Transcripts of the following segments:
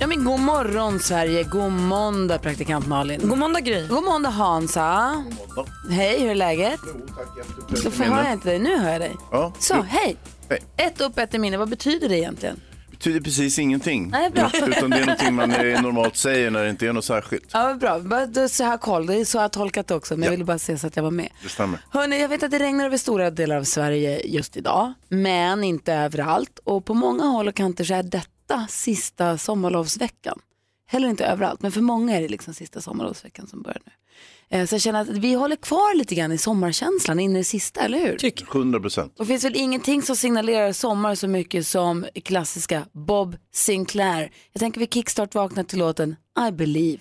Ja men god morgon Sverige, god måndag praktikant Malin. God måndag Gry. God måndag Hansa. Hej, hur är läget? Varför hör jag inte dig? Nu hör jag dig. Ja. Så, hej. Hej. Ett upp, ett i minne. Vad betyder det egentligen? betyder precis ingenting. Nej, bra. Utan det är någonting man eh, normalt säger när det inte är något särskilt. Ja, vad bra. Bara- då- Så jag har koll. Det är så jag har tolkat det också, men jag ville bara se så att jag var med. Det stämmer. Hörrni, jag vet att det regnar över stora delar av Sverige just idag, men inte överallt. Och på många håll och kanter så är detta sista sommarlovsveckan. Heller inte överallt, men för många är det liksom sista sommarlovsveckan som börjar nu. Eh, Så jag känner att vi håller kvar lite grann i sommarkänslan in i det sista, eller hur? 100 procent. Och det finns väl ingenting som signalerar sommar så mycket som klassiska Bob Sinclair. Jag tänker vi kickstart vaknar till låten I believe.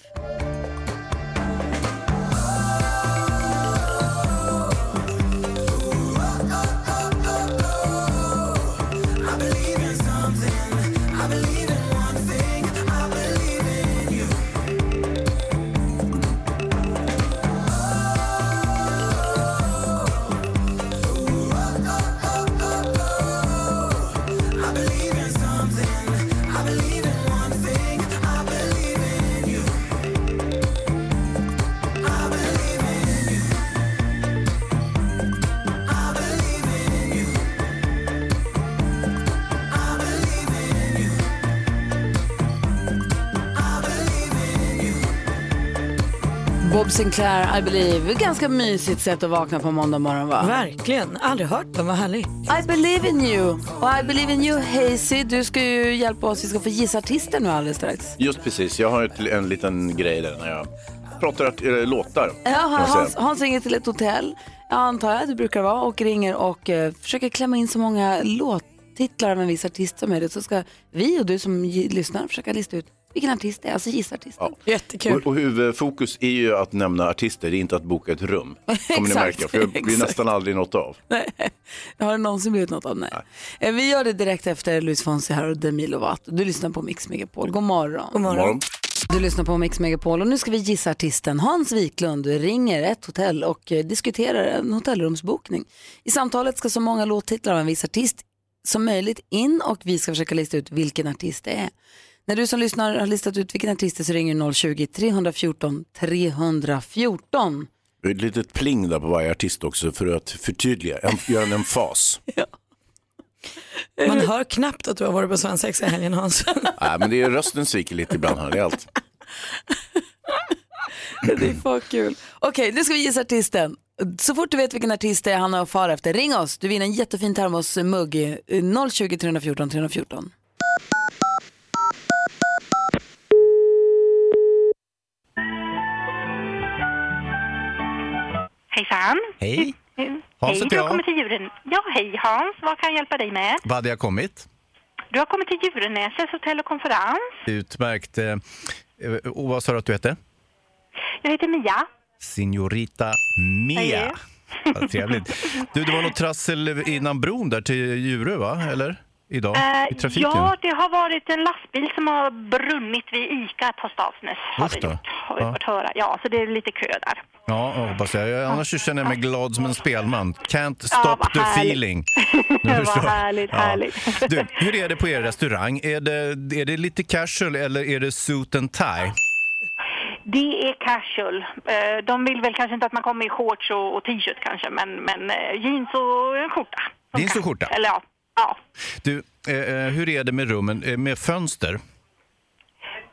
Bob Sinclair, I believe. Ganska mysigt sätt att vakna på måndag morgon va? Verkligen, aldrig hört den, vad härligt. I believe in you. Och I believe in you, Hazy, du ska ju hjälpa oss. Vi ska få gissa artisten nu alldeles strax. Just precis. Jag har ett, en liten grej där när jag pratar att, eh, låtar. Ja, kan man säga. Hans, Hans ringer till ett hotell, jag antar jag, det brukar vara, och ringer och eh, försöker klämma in så många låttitlar av en viss artist som möjligt. Så ska vi och du som gi- lyssnar försöka lista ut vilken artist det är, alltså gissa artisten. Jättekul. Och, och huvudfokus är ju att nämna artister, det är inte att boka ett rum. Kommer ni Exakt, märka, för det blir exakt. nästan aldrig något av. Har det någonsin blivit något av? Nej. Eh, Vi gör det direkt efter Luis Fonsi här och Demi Lovato. Du lyssnar på Mix Megapol. God morgon. God morgon. Morgon. Du lyssnar på Mix Megapol och nu ska vi gissa artisten. Hans Wiklund ringer ett hotell och eh, diskuterar en hotellrumsbokning. I samtalet ska så många låttitlar av en viss artist som möjligt in och vi ska försöka lista ut vilken artist det är. När du som lyssnar har listat ut vilken artist det är så ringer du 020-314 314. Det är Ett litet pling där på varje artist också för att förtydliga, en, göra en emfas. Man hör knappt att du har varit på svensexa i helgen Hans. Nej, men det är rösten sviker lite ibland, här, det är allt. Det är för kul. Okej, nu ska vi gissa artisten. Så fort du vet vilken artist det är han har att fara efter, ring oss. Du vinner en jättefin termosmugg. eh, 020 314 314. Hejsan! Hej. Hans Hej, heter du har jag. kommit till djuren. Ja, hej Hans, vad kan jag hjälpa dig med? Vad hade jag kommit? Du har kommit till Djurennäsets hotell och konferens. Utmärkt. Eh, Och vad sa du att du hette? Jag heter Mia. Signorita Mia. Vad trevligt. Du, det var något trassel innan bron där till Djurö, va? Eller? Idag? Eh, I trafiken? ja, det har varit en lastbil som har brunnit vid ICA på Stavsnäs. Har Usch vi då. gjort, har vi Ja. fått höra. Ja, så det är lite kö där. Ja, jag hoppas jag. Jag- Annars så känner jag mig glad som en spelman. Can't Ja, stop vad the härligt. feeling. Vad förstår jag. härligt, härligt. Du, hur är det på er restaurang? Är det, är det lite casual eller är det suit and tie? Det är casual. Eh, de vill väl kanske inte att man kommer i shorts och, och t-shirt kanske, men, men eh, jeans och en skjorta. Jeans och skjorta? Eller ja. ja. Du, eh, eh, hur är det med rummen, eh, med fönster?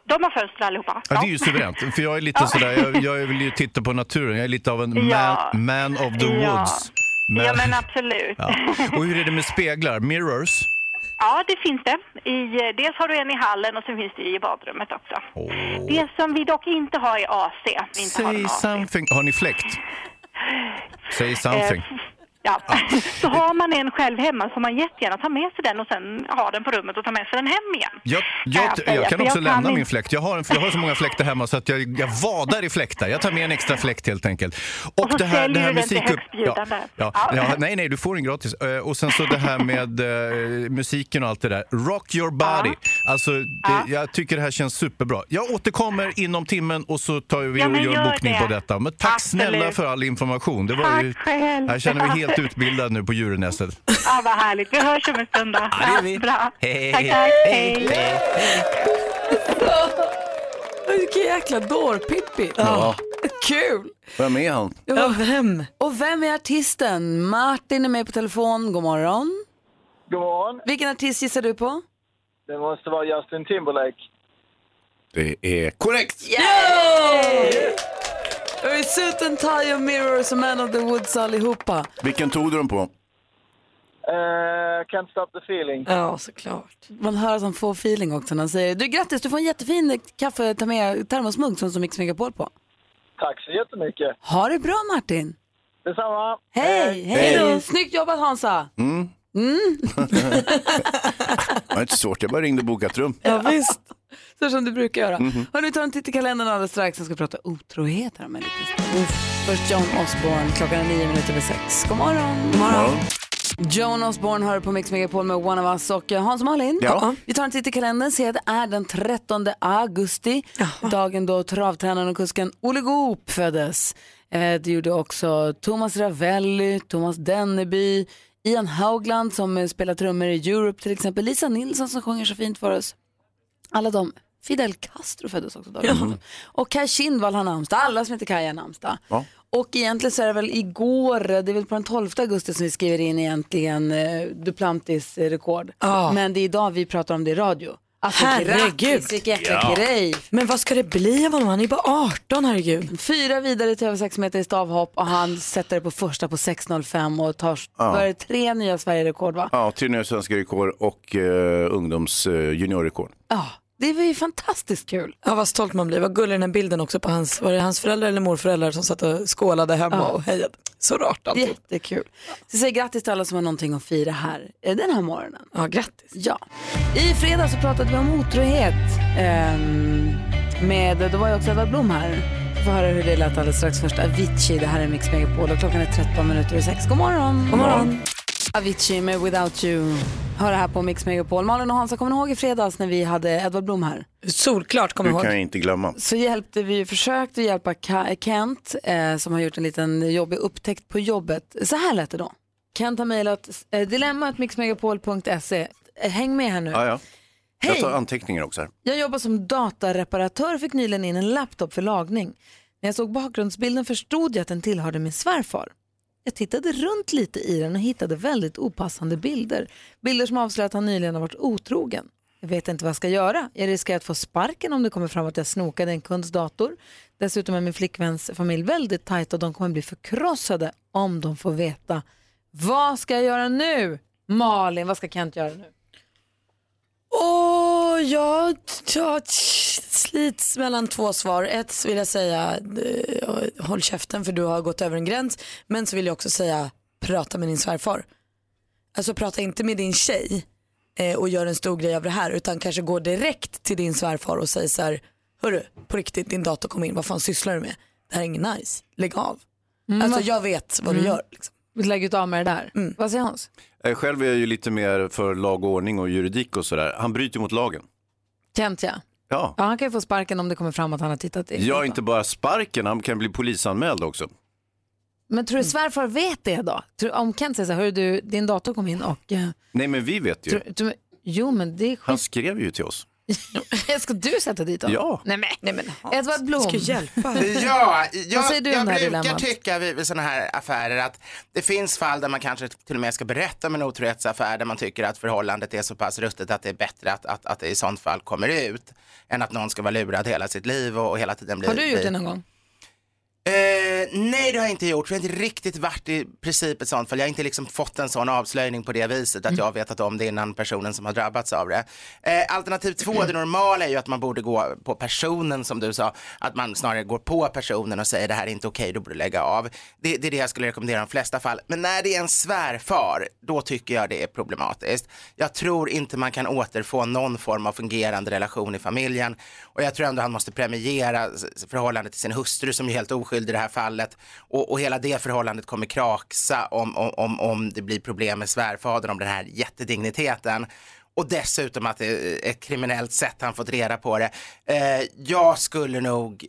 De har fönster allihopa. Ja, det är ju suveränt. För jag är lite sådär, jag, jag vill ju titta på naturen. Jag är lite av en man, Ja. man of the Ja. woods. Men- Ja, men alltså. absolut. Ja. Och hur är det med speglar? Mirrors? Ja, det finns det. I, eh, dels har du en i hallen och sen finns det i badrummet också. Det som vi dock inte har är AC. Vi inte har någon Say AC. something. Har ni fläkt? Say something. Eh, Ja. Så har man en själv hemma så får man jättegärna ta med sig den och sen ha den på rummet och ta med sig den hem igen. Jag, Kan jag, säga, jag kan för också lämna inte- min fläkt. Jag har, en, jag har så många fläktar hemma så att jag, jag vadar i fläktar. Jag tar med en extra fläkt helt enkelt. Och så säljer du den till musikupp- högstbjudande. Ja, ja, Ja. ja, nej, nej, du får den gratis. Eh, Och sen så det här med eh, musiken och allt det där. Rock your body. Alltså, det, jag tycker det här känns superbra. Jag återkommer inom timmen och så tar vi Ja, och men gör en gör bokning det. på detta. Men tack Absolut. snälla för all information. Det var Tack ju, själv. jag känner mig helt utbildad nu på Djurennästet. Ja, vad härligt. Vi hörs om en stund då. Ja, det gör vi. Bra. Hej, tack, tack. hej, hej. Vilken jäkla dårpippi. Ja. Kul! Vem är han? Ja, vem? Och vem är artisten? Martin är med på telefon. God morgon. God morgon. Vilken artist gissar du på? Det måste vara Justin Timberlake. Det är korrekt. Och i Suit and Tie och Mirrors och Man of the Woods allihopa. Vilken tog du den på? Eh, can't stop the feeling. Ja, såklart. Man hör att han får feeling också när han säger du grattis, du får en jättefin kaffe, ta med termosmugg som som Mix Megapol på. Tack så jättemycket. Ha det bra Martin! Detsamma. Hej! Hej då! Snyggt jobbat Hansa! Mm. Det var Mm. inte svårt, jag bara ringde och bokade ett rum. Ja, visst. Så som du brukar göra. Hörru, vi tar en titt i kalendern alldeles strax. Sen ska vi prata otrohet här med lite stund. Först John Osborne, klockan är nio minuter över sex. God morgon! God Ja. John Osborne hör på Mix Megapol med One of Us och eh, Hans och Malin. Ja. Vi tar en titt i kalendern, ser att det är den 13 augusti, dagen då travtränaren och kusken Olle Goop föddes. Eh, Det gjorde också Thomas Ravelli, Thomas Denneby, Ian Haugland som eh, spelar trummor i Europe till exempel, Lisa Nilsson som sjunger så fint för oss. Alla de, Fidel Castro föddes också dagen efter. Och Kaj Kindvall har namnsdag, alla som heter Kaj har namnsdag. Ja. Och egentligen så är det väl igår, det är väl på den 12 augusti som vi skriver in egentligen eh, Duplantis eh, rekord. Ja. Men det är idag vi pratar om det i radio. Alltså Herregud. grattis, vilken jäkla grej. Men vad ska det bli av honom? Han är bara 18, herregud. Fyra vidare till över 6 meter i stavhopp och han sätter det på första på 6.05 och tar vad är det, tre nya Sverigerekord va? Ja, tre nya svenska rekord och eh, ungdoms eh, juniorrekord. Ja, det var ju fantastiskt kul. Ja, vad stolt man blir. Vad gullig den här bilden också på hans, var det hans föräldrar eller morföräldrar som satt och skålade hemma och hejade. Så rart alltid. Jättekul. Så säg grattis till alla som har någonting att fira här eh, den här morgonen. Ja, grattis. Ja. I fredags så pratade vi om otrohet. ehm, med, då var ju också Edward Blom här. Vi får höra hur det lät alldeles strax. Först Avicii, det här är Mix Megapol och klockan är 13 minuter och 6. God morgon! God morgon! Avicii med Without You. Hör det här på Mix Megapol. Malin och Hansa, kommer ni ihåg i fredags när vi hade Edward Blom här? Solklart, kommer Du jag kan ihåg. jag inte glömma. så hjälpte vi, försökte hjälpa Ka- Kent eh, som har gjort en liten jobbig upptäckt på jobbet. Så här lät det då. Kent har mejlat eh, dilemmatmixmegapol.se. Eh, Häng med här nu. Ja, ja. Jag Hej! tar anteckningar också här. Jag jobbar som datareparatör och fick nyligen in en laptop för lagning. När jag såg bakgrundsbilden förstod jag att den tillhörde min svärfar. Jag tittade runt lite i den och hittade väldigt opassande bilder. Bilder som avslöjar att han nyligen har varit otrogen. Jag vet inte vad jag ska göra. Jag riskerar att få sparken om det kommer fram att jag snokade en kunds dator. Dessutom är min flickväns familj väldigt tajt och de kommer bli förkrossade om de får veta. Vad ska jag göra nu? Malin, vad ska Kent göra nu? Åh, jag, jag slits mellan två svar. Ett vill jag säga, eh, håll käften för du har gått över en gräns. Men så vill jag också säga, prata med din svärfar. Alltså prata inte med din tjej eh, och gör en stor grej av det här utan kanske gå direkt till din svärfar och säg så här, hörru, på riktigt din dator kom in, vad fan sysslar du med? Det här är inget nice, lägg av. Alltså Mm. jag vet vad du gör. Liksom. Lägg ut av med det där. Mm. Vad säger Hans? Eh, Själv är jag ju lite mer för lag och ordning och juridik och sådär. Han bryter mot lagen. Kent ja. Ja. ja. Han kan ju få sparken om det kommer fram att han har tittat i. Jag är inte bara sparken, han kan bli polisanmäld också. Men tror du Mm. svärfar vet det då? Tror, om Kent säger så här, "Hörru du, din dator kom in och... eh, Nej, men vi vet ju. tror, tror, jo men det är skit. Han skrev ju till oss. Ska du sätta dit honom? Ja. Nej men. Nej, men, Edvard Blom. Ska hjälpa. Ja, jag, säger du om jag det brukar här dilemmat? tycka vid, vid sådana här affärer att det finns fall där man kanske till och med ska berätta om en otrohetsaffär där man tycker att förhållandet är så pass ruttet att det är bättre att, att, att det i sånt fall kommer ut än att någon ska vara lurad hela sitt liv och, och hela tiden bli... Har du gjort bli- det någon gång? Eh, nej, det har jag inte gjort. för Jag har inte riktigt varit i princip ett sånt fall. Jag har inte liksom fått en sån avslöjning på det viset att jag har vetat om det innan personen som har drabbats av det. Eh, alternativ två, det normala är ju att man borde gå på personen som du sa. Att man snarare går på personen och säger det här är inte okej, då borde du lägga av. Det, det är det jag skulle rekommendera i de flesta fall. Men när det är en svärfar, då tycker jag det är problematiskt. Jag tror inte man kan återfå någon form av fungerande relation i familjen. Och jag tror ändå han måste premiera s- s- förhållandet till sin hustru som är helt oskyldig i det här fallet. Och, och hela det förhållandet kommer kraxa om, om- om, om det blir problem med svärfadern, om den här jättedigniteten. Och dessutom att det är ett kriminellt sätt han fått reda på det. Eh, jag skulle nog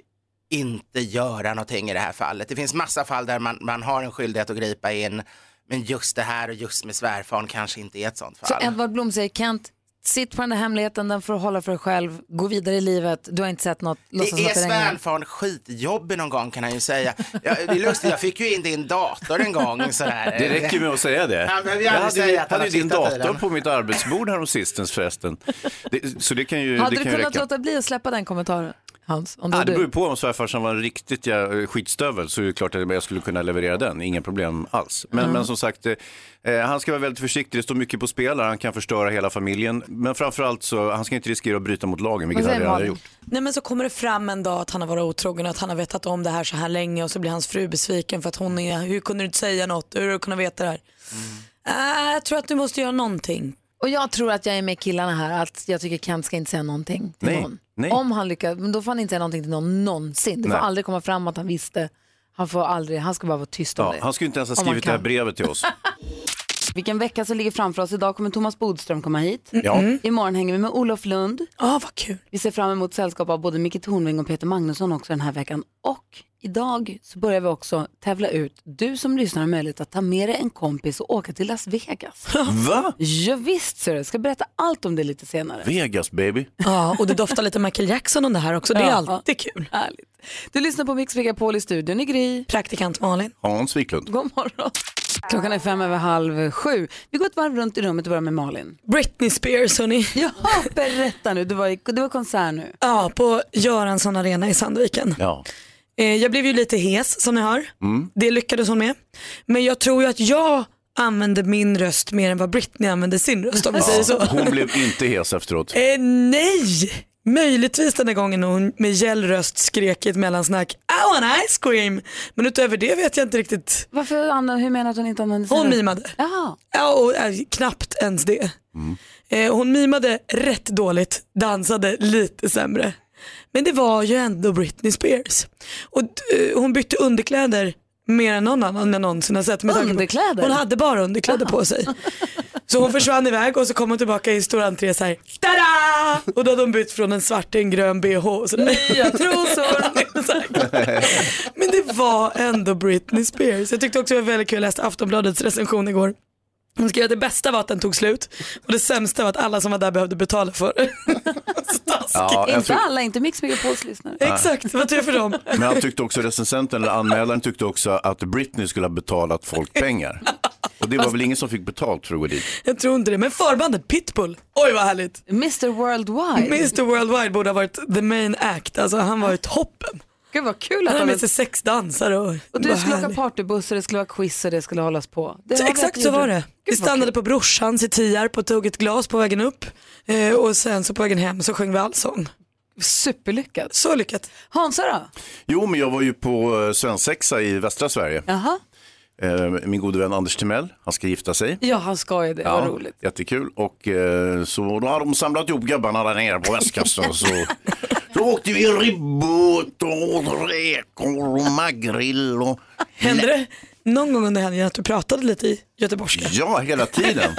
inte göra någonting i det här fallet. Det finns massa fall där man, man har en skyldighet att gripa in. Men just det här och just med svärfaren kanske inte är ett sånt fall. Så Edvard Blom säger Kent, Sitt på den där hemligheten, den får du hålla för dig själv. Gå vidare i livet, du har inte sett något. låtsas Det som är att det regnar. svärfaren skitjobbig någon gång kan han ju säga. Ja, det är lustigt, jag fick ju in din dator en gång. Sådär. Det räcker med att säga det. Han behöver ju jag aldrig hade, säga att han hade har ju din tittat i dator den. på mitt arbetsbord häromsistens förresten. Det, så det kan ju, Hade du det kan ju kunnat räcka. låta bli att släppa den kommentaren, Hans? Om det Ja, var det beror ju du. på om svärfarsan var en riktigt ja, skitstövel så är det klart att jag skulle kunna leverera den, inga problem alls. Men, Mm. men som sagt, eh, eh, han ska vara väldigt försiktig, det står mycket på spel här, han kan förstöra hela familjen. Men framförallt så, han ska inte riskera att bryta mot lagen, vilket Vad säger han redan har Malin? gjort. Nej men så kommer det fram en dag att han har varit otrogen och att han har vetat om det här så här länge och så blir hans fru besviken för att hon är, hur kunde du inte säga något, hur har du kunnat veta det här? Mm. Äh, jag tror att du måste göra någonting. Och jag tror att jag är med killarna här, att jag tycker Kent ska inte säga någonting till Nej, någon. nej. Om han lyckas, men då får han inte säga någonting till någon någonsin. Det får Nej. aldrig komma fram att han visste. Han får aldrig, han ska bara vara tyst om Ja, det. han skulle inte ens ha Om man skrivit det här kan. brevet till oss. Vilken vecka som ligger framför oss. Idag kommer Thomas Bodström komma hit. Ja. Mm. Imorgon hänger vi med Olof Lund. Ja vad kul. Vi ser fram emot sällskap av både Micke Tornving och Peter Magnusson också den här veckan. Och idag så börjar vi också tävla ut. Du som lyssnar har möjlighet att ta med dig en kompis och åka till Las Vegas. Va? Ja, visst ser du. Jag ska berätta allt om det lite senare. Vegas baby. Ja och det doftar lite Michael Jackson om det här också, det är Ja. alltid kul. Härligt. Du lyssnar på Mix Megapol i studion i Gry. Praktikant Malin. Hans Wiklund. God morgon. Klockan är fem över halv sju. Vi går ett varv runt i rummet och börjar med Malin. Britney Spears hörni. Ja, berätta nu. Du var, i- du var i konsert nu. Ja, på Göransson Arena i Sandviken. Ja. Eh, jag blev ju lite hes som ni hör. Mm. Det lyckades hon med. Men jag tror ju att jag använde min röst mer än vad Britney använde sin röst om vi säger så. Ja, hon blev inte hes efteråt. Eh, nej! Möjligtvis den där gången hon med gäll röst skrek i ett mellansnack I want ice cream. Men utöver det vet jag inte riktigt. Varför, Anna, hur menar du att hon inte använde sin Hon röst? mimade. Jaha. Ja, och, eh, knappt ens det. Eh, hon mimade rätt dåligt, dansade lite sämre. Men det var ju ändå Britney Spears. Och eh, hon bytte underkläder mer än någon annan jag någonsin har sett. Med tanke på- Underkläder? Hon hade bara underkläder på sig. Så hon försvann iväg och så kom hon tillbaka i stor entré så här. Tada! Och då hade hon bytt från en svart till en grön bh. Och så Nya trosor! Exakt. Men det var ändå Britney Spears. Jag tyckte också det var väldigt kul, jag läste Aftonbladets recension igår. Hon skrev att det bästa var att den tog slut och det sämsta var att alla som var där behövde betala för det. Så taskigt. Ja, jag inte tror- alla, inte Mix Megapols lyssnare. Exakt, vad tur för dem. Men han tyckte också, recensenten eller anmälaren tyckte också att Britney skulle ha betalat folk pengar. Och det var väl ingen som fick betalt för att gå dit. Jag tror inte det, men förbandet Pitbull, oj vad härligt. Mr Worldwide. Mr Worldwide borde ha varit the main act, alltså han var ju toppen. Gud vad kul att Han de har med sig sex dansare och, Och du vad skulle åka härligt. partybuss och det skulle vara quiz och det skulle hållas på. Det Så var Exakt rätt så var gjort. det. Vi Gud, vad stannade kul. på brorsans i Tierp och tog ett glas på vägen upp eh, och sen så på vägen hem så sjöng vi allsång. Superlyckat. Så lyckat. Hansa då? Jo, men jag var ju på eh, svensexa i västra Sverige. Jaha. Eh, Min gode vän Anders Timell, han ska gifta sig. Ja, han ska ju det. Vad roligt. Jättekul. Och eh, så då har de samlat ihop gubbarna där nere på västkusten. så, så åkte vi ribbåt och räkor och magrill och Hände det någon gång under helgen att du pratade lite i göteborgska? ja, hela tiden.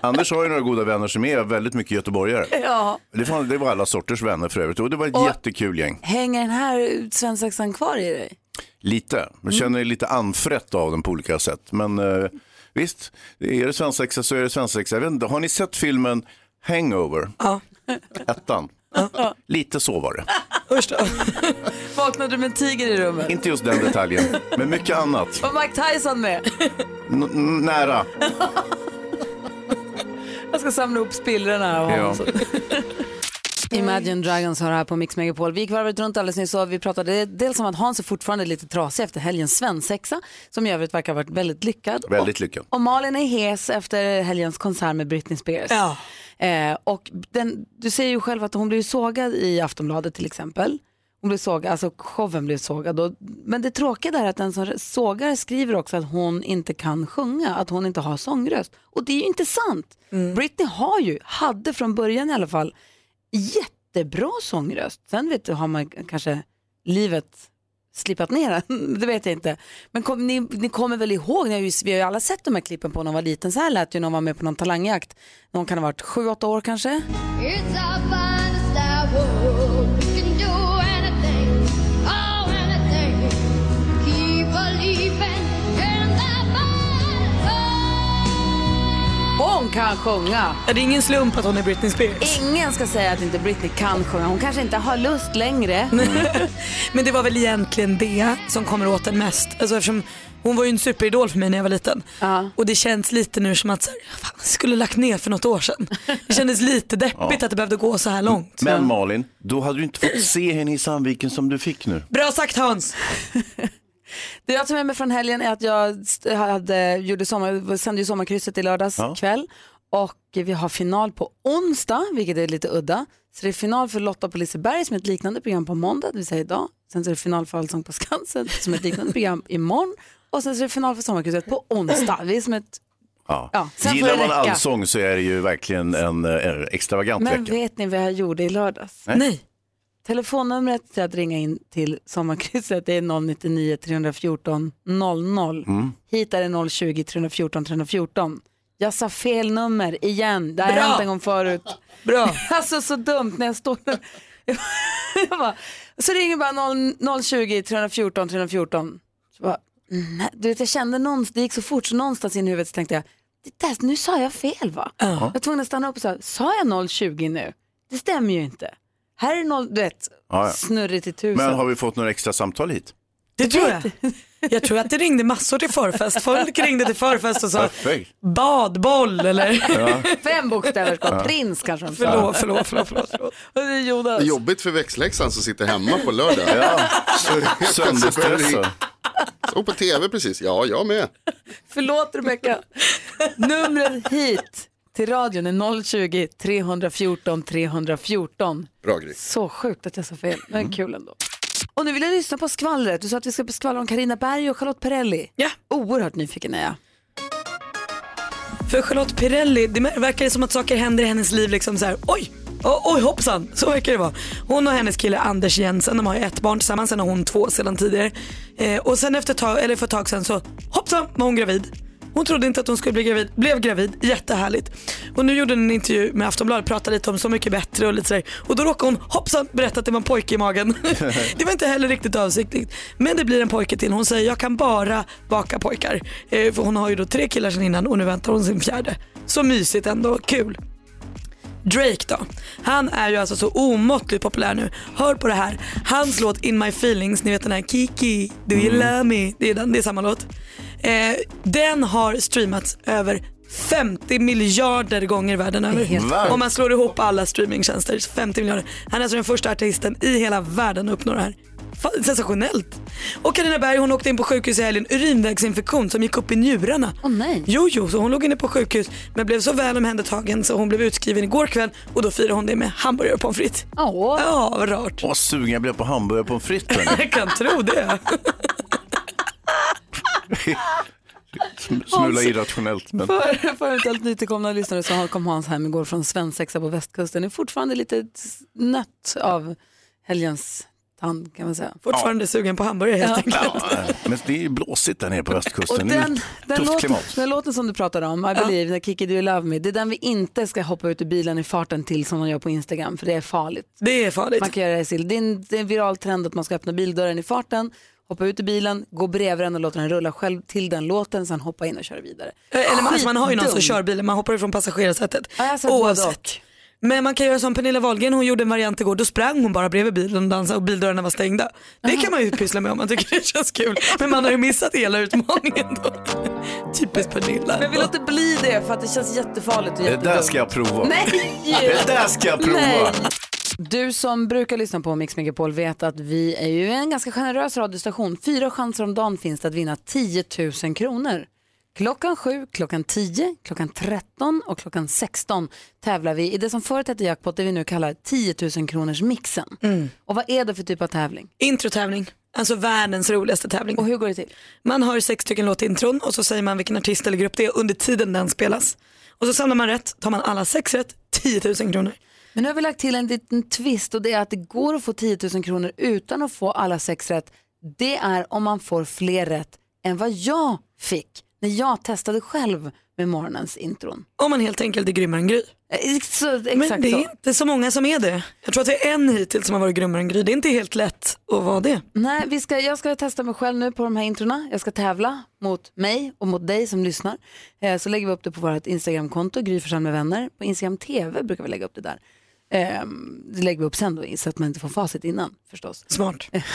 Anders har ju några goda vänner som är väldigt mycket göteborgare. Ja. Det var, det var alla sorters vänner för övrigt och det var ett jättekul gäng. Hänger den här svensexan kvar i dig? Lite, Mm. man känner lite anfrätt av den på olika sätt. Men eh, visst, är det svensexa så är det svensexa. Jag vet inte, har ni sett filmen Hangover? Ja. Ettan? Lite så var det. Usch då. Vaknade du med en tiger i rummet? Inte just den detaljen, men mycket annat. Var Mike Tyson med? N- n- nära. Jag ska samla ihop spillrorna här av Ja. Hans. Imagine Dragons har det här på Mix Megapol. Vi gick varvet runt alldeles nyss och vi pratade dels om att Hans är fortfarande lite trasig efter helgens svensexa som i övrigt verkar ha varit väldigt lyckad. Väldigt lyckad. Och Malin är hes efter helgens konsert med Britney Spears. Ja. Eh, och den, du säger ju själv att hon blev sågad i Aftonbladet till exempel. Hon blev sågad, alltså showen blev sågad. Och, men det tråkiga där är att den som sågar skriver också att hon inte kan sjunga, att hon inte har sångröst. Och det är ju inte sant. Britney har ju, hade från början i alla fall, jättebra sångröst. Sen vet du, har man kanske livet slipat ner den, det vet jag inte. Men kom, ni, ni kommer väl ihåg, ni har ju, vi har ju alla sett de här klippen på när hon var liten, så här lät ju när hon var med på någon talangjakt. När hon kan ha varit sju, åtta år kanske. It's our finest hour. Can do anything, oh anything. Keep believing in the final. Hon kan kan sjunga. Är det ingen slump att hon är Britney Spears? Ingen ska säga att inte Britney kan sjunga. Hon kanske inte har lust längre. Men det var väl egentligen det som kommer åt en mest. Alltså eftersom hon var ju en superidol för mig när jag var liten. Ja. Och det känns lite nu som att så här, fan, jag skulle lagt ner för något år sedan. Det kändes lite deppigt att det behövde gå så här långt. Men Malin, då hade du inte fått se henne i Sandviken som du fick nu. Bra sagt Hans! Det jag tar med mig från helgen är att jag st- hade, gjorde sommar, sände ju sommarkrysset i lördags Ja. kväll. Och vi har final på onsdag, vilket är lite udda. Så det är final för Lotta på Liseberg som är ett liknande program på måndag, det vill säga idag. Sen så är det final för Allsång på Skansen som är ett liknande program imorgon. Och sen så är det final för sommarkrysset på onsdag. Vi är som ett... Ja. Ja, sen får Gillar det man räcka. allsång så är det ju verkligen en eh, extravagant Men vecka. vet ni vad jag gjorde i lördags? Nej. Telefonnumret till att ringa in till sommarkrysset är 099 314 00. Mm. Hit är det 020 314 314. Jag sa fel nummer igen, det har Bra. hänt en gång förut. Bra. Alltså så dumt när jag står där. jag bara, så ringer bara 0, 020 314 314. Så bara, nej, du vet, jag kände någonstans, det gick så fort så någonstans in i huvudet så tänkte jag, det där, nu sa jag fel va? Jag var tvungen att stanna upp och sa, sa jag 020 nu? Det stämmer ju inte. Här är 0, du vet, Ja, ja. snurrigt i tusen. Men har vi fått några extra samtal hit? Det tror jag. Jag tror att det ringde massor till förfest. Folk ringde till förfest och sa Perfekt. badboll eller Fem bokstäver ska prins kanske de sa. förlåt, förlåt, förlåt, förlåt, förlåt. Och det är Jonas. Jobbigt för växläxan som sitter hemma på lördag. Sönderstressad. alltså. Såg på tv precis. Ja, jag med. Förlåt Rebecka. Numret hit till radion är 020 314 314. Bra Gry. Mm. Så sjukt att jag sa fel, men kul ändå. Och nu vill jag lyssna på skvallret. Du sa att vi ska skvallra om Carina Berg och Charlotte Perrelli. Ja. Oerhört nyfiken är jag. För Charlotte Pirelli, det verkar det som att saker händer i hennes liv liksom så här, oj, o- oj hoppsan, så verkar det vara. Hon och hennes kille Anders Jensen, de har ju ett barn tillsammans, sen har hon två sedan tidigare. Eh, och sen efter ett tag, eller för ett tag sedan så hoppsan var hon gravid. Hon trodde inte att hon skulle bli gravid, blev gravid, jättehärligt. Och nu gjorde hon en intervju med Aftonbladet, pratade lite om Så mycket bättre och lite sådär. Och då råkade hon hoppsan berätta att det var en pojke i magen. det var inte heller riktigt avsiktligt. Men det blir en pojke till. Hon säger jag kan bara baka pojkar. Eh, för hon har ju då tre killar sedan innan och nu väntar hon sin fjärde. Så mysigt ändå, kul. Drake då. Han är ju alltså så omåttligt populär nu. Hör på det här. Hans låt In My Feelings, ni vet den här Kiki, Do You Love Me? Det är, den, det är samma låt. Eh, den har streamats över 50 miljarder gånger världen över. Om man slår ihop alla streamingtjänster. 50 miljarder. Han är alltså den första artisten i hela världen att uppnå det här. Fan, sensationellt. Och Carina Berg hon åkte in på sjukhus i helgen. Urinvägsinfektion som gick upp i njurarna. Åh, nej. Jo, jo, så hon låg inne på sjukhus men blev så väl omhändertagen så hon blev utskriven igår kväll och då firade hon det med hamburgare och pommes frites. Åh. Ja, vad rart. Åh, sugen jag blev på hamburgare på en fritt. Jag kan tro det. Smula irrationellt. Men... För, för eventuellt nytillkomna lyssnare så kom Hans hem igår från svensexa på västkusten. Är fortfarande lite nött av helgens tand kan man säga. Fortfarande sugen på hamburgare helt enkelt. Ja, men det är ju blåsigt där nere på Och västkusten. Det är den, den, tufft låten, klimat. den låten som du pratade om, I believe, när Kiki Do You Love Me, det är den vi inte ska hoppa ut ur bilen i farten till som de gör på Instagram, för det är farligt. Det är farligt. Man kan göra det, Sil. det, är en, det är en viral trend att man ska öppna bildörren i farten, hoppa ut ur bilen, gå bredvid den och låta den rulla själv till den låten, sen hoppa in och köra vidare. Eller man, alltså man har ju någon som Skitdum. kör bilen, man hoppar ifrån passagerarsätet. Ja, jag har sett både och. Men man kan göra som Pernilla Wahlgren, hon gjorde en variant igår, då sprang hon bara bredvid bilen och dansade och bildörrarna var stängda. Det kan man ju pyssla med om man tycker det känns kul. Men man har ju missat hela utmaningen då. Typiskt Pernilla. Men vi låter bli det för att det känns jättefarligt och Det där jättedumt. ska jag prova. Nej! Det där ska jag prova. Nej. Du som brukar lyssna på Mix Megapol vet att vi är ju en ganska generös radiostation. Fyra chanser om dagen finns det att vinna 10 000 kronor. Klockan 7, klockan 10, klockan 13 och klockan 16 tävlar vi i det som förut hette jackpot, det vi nu kallar 10 000 kronors mixen. Och vad är det för typ av tävling? Introtävling, alltså världens roligaste tävling. Och hur går det till? Man har sex stycken låtintron och så säger man vilken artist eller grupp det är under tiden den spelas. Och så samlar man rätt, tar man alla sex rätt, 10 000 kronor. Men nu har vi lagt till en liten twist och det är att det går att få 10 000 kronor utan att få alla sex rätt. Det är om man får fler rätt än vad jag fick när jag testade själv med morgonens intron. Om man helt enkelt är grymmare än Gry. Eh, Så, exakt Men det så. är inte så många som är det. Jag tror att det är en hittills som har varit grymmare än Gry. Det är inte helt lätt att vara det. Nej, vi ska, jag ska testa mig själv nu på de här introna. Jag ska tävla mot mig och mot dig som lyssnar. Eh, så lägger vi upp det på vårt Instagramkonto, Gry Forssell med vänner. På Instagram TV brukar vi lägga upp det där. Eh, det lägger vi upp sen då, så att man inte får facit innan förstås. Smart.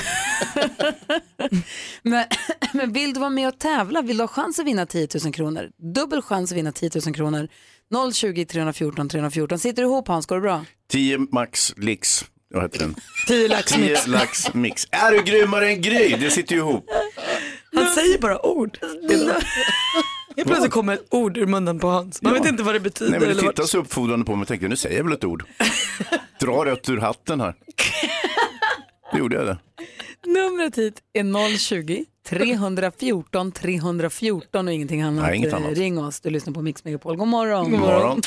Men, men vill du vara med och tävla, vill du ha chans att vinna 10 000 kronor, dubbel chans att vinna 10 000 kronor, 020 314 314. Sitter du ihop Hans, går det bra? 10 max lix. Vad heter den? Tio lax 10 mix. lax mix. Är du grymmare än Gry? Det sitter ju ihop. Han säger bara ord. Helt plötsligt kommer ett ord ur munnen på Hans. Man vet inte vad det betyder. Nej, men du eller vad- tittar så uppfordrande på mig och tänker, nu säger jag väl ett ord. Dra rött ur hatten här. Då gjorde jag det. Numret hit är 020 314 314 och ingenting annat. Nej, inget Eh, annat. Ring oss, du lyssnar på Mix Megapol. God morgon. God morgon.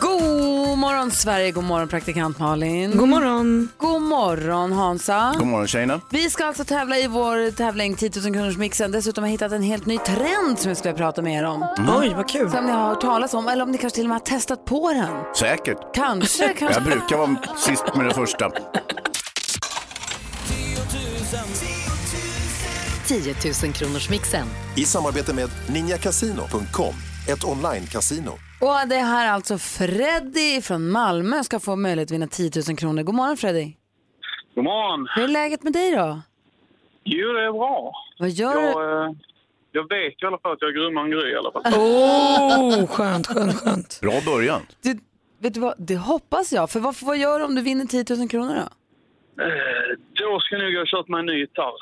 God morgon Sverige, god morgon praktikant Malin. God morgon. God morgon Hansa. God morgon tjejerna. Vi ska alltså tävla i vår tävling 10 000 kronors mixen. Dessutom har jag hittat en helt ny trend som jag skulle prata med er om. Mm. Oj, vad kul. Som ni har hört talas om, eller om ni kanske till och med har testat på den. Säkert. Kanske, kanske. Jag brukar vara sist med det första. 10 000 kronors mixen. I samarbete med ninjakasino.com, ett online-casino. Och det är här alltså Freddy från Malmö ska få möjlighet att vinna 10 000 kronor. God morgon Freddy. God morgon. Hur är läget med dig då? Jo, det är bra. Vad gör Jag, du? eh, jag vet i alla fall att jag är grymmare än Gry i alla fall. Oh, skönt, skönt, skönt. Bra början. du? Vet du vad, det hoppas jag. För vad, vad gör du om du vinner 10 000 kronor då? Eh, Då ska jag nog jag köpa mig en ny gitarr.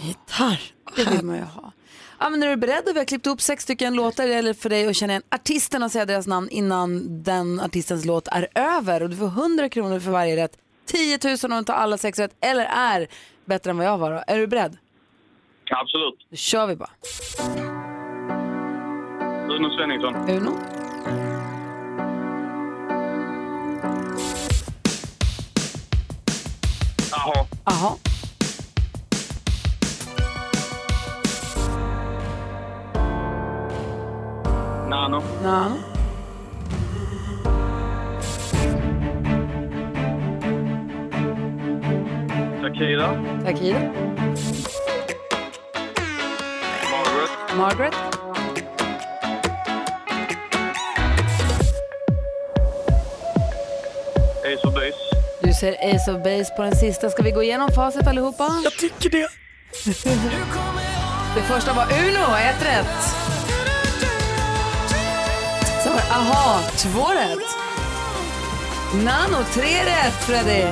Gitarr. Det vill man ju ha. Ja, men är du beredd? Vi har klippt upp sex stycken låtar. Det gäller för dig att känna igen artisterna och säga deras namn innan den artistens låt är över. Och du får 100 kronor för varje rätt. 10 000 om du tar alla sex rätt eller är bättre än vad jag var. Då. Är du beredd? Absolut. Då kör vi bara. Uno Svenningsson. Uno. Jaha. Aha. Nano. Nano. Shakira. Takida. Margaret. Margaret. Ace of Base. Du ser Ace of Base på den sista. Ska vi gå igenom facit allihopa? Jag tycker det. Det första var Uno, ett rätt. Sen var det Aha, två rätt. Nano, tre rätt Freddy.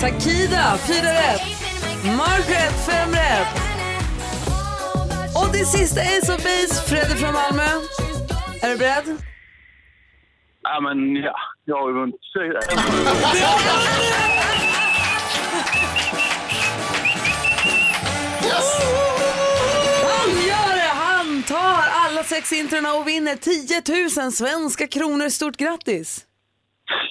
Takida, fyra rätt. Margaret, fem rätt. Och det sista Ace of Base, Freddy från Malmö. Är du beredd? Ja, men ja. Jag har ju vunnit fyra. Han gör det! Han tar alla sex introna och vinner 10 000 svenska kronor. Stort grattis!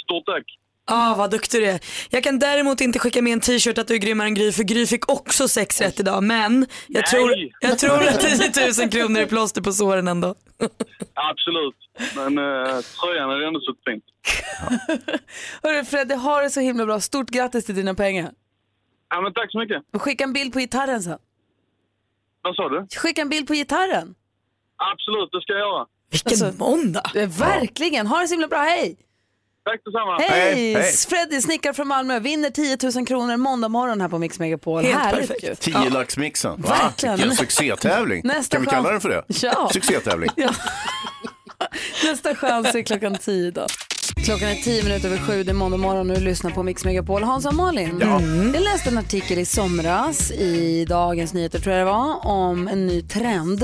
Stort tack. Ah, vad duktig du är. Jag kan däremot inte skicka med en t-shirt att du är grymmare än Gry, för Gry fick också sex rätt idag. Men jag, tror, jag tror att 10 000 kronor är plåster på såren ändå. Absolut. Men eh, tröjan är ändå så fint. Hörru Fredde, ha det så himla bra. Stort grattis till dina pengar. Ja, men tack så mycket. Och Skicka en bild på gitarren sen. Vad sa du? Skicka en bild på gitarren. Absolut, det ska jag göra. Vilken måndag. Eh, Verkligen, ha det så himla bra. Hej! Tack detsamma. Hej! Hej, hej. Freddy, snickare från Malmö, vinner 10 000 kronor måndag morgon här på Mix Megapol. Helt Härligt perfekt. ju. 10 laxmixen. Va? Verkligen. Vilken succétävling. Nästa kan vi chans. kalla den för det? Ja. Succétävling. Ja. Nästa chans är klockan 10 då. Klockan är 10 minuter över sju, det är måndag morgon och du lyssnar på Mix Megapol. Hans och Malin, Mm. jag läste en artikel i somras i Dagens Nyheter tror jag det var, om en ny trend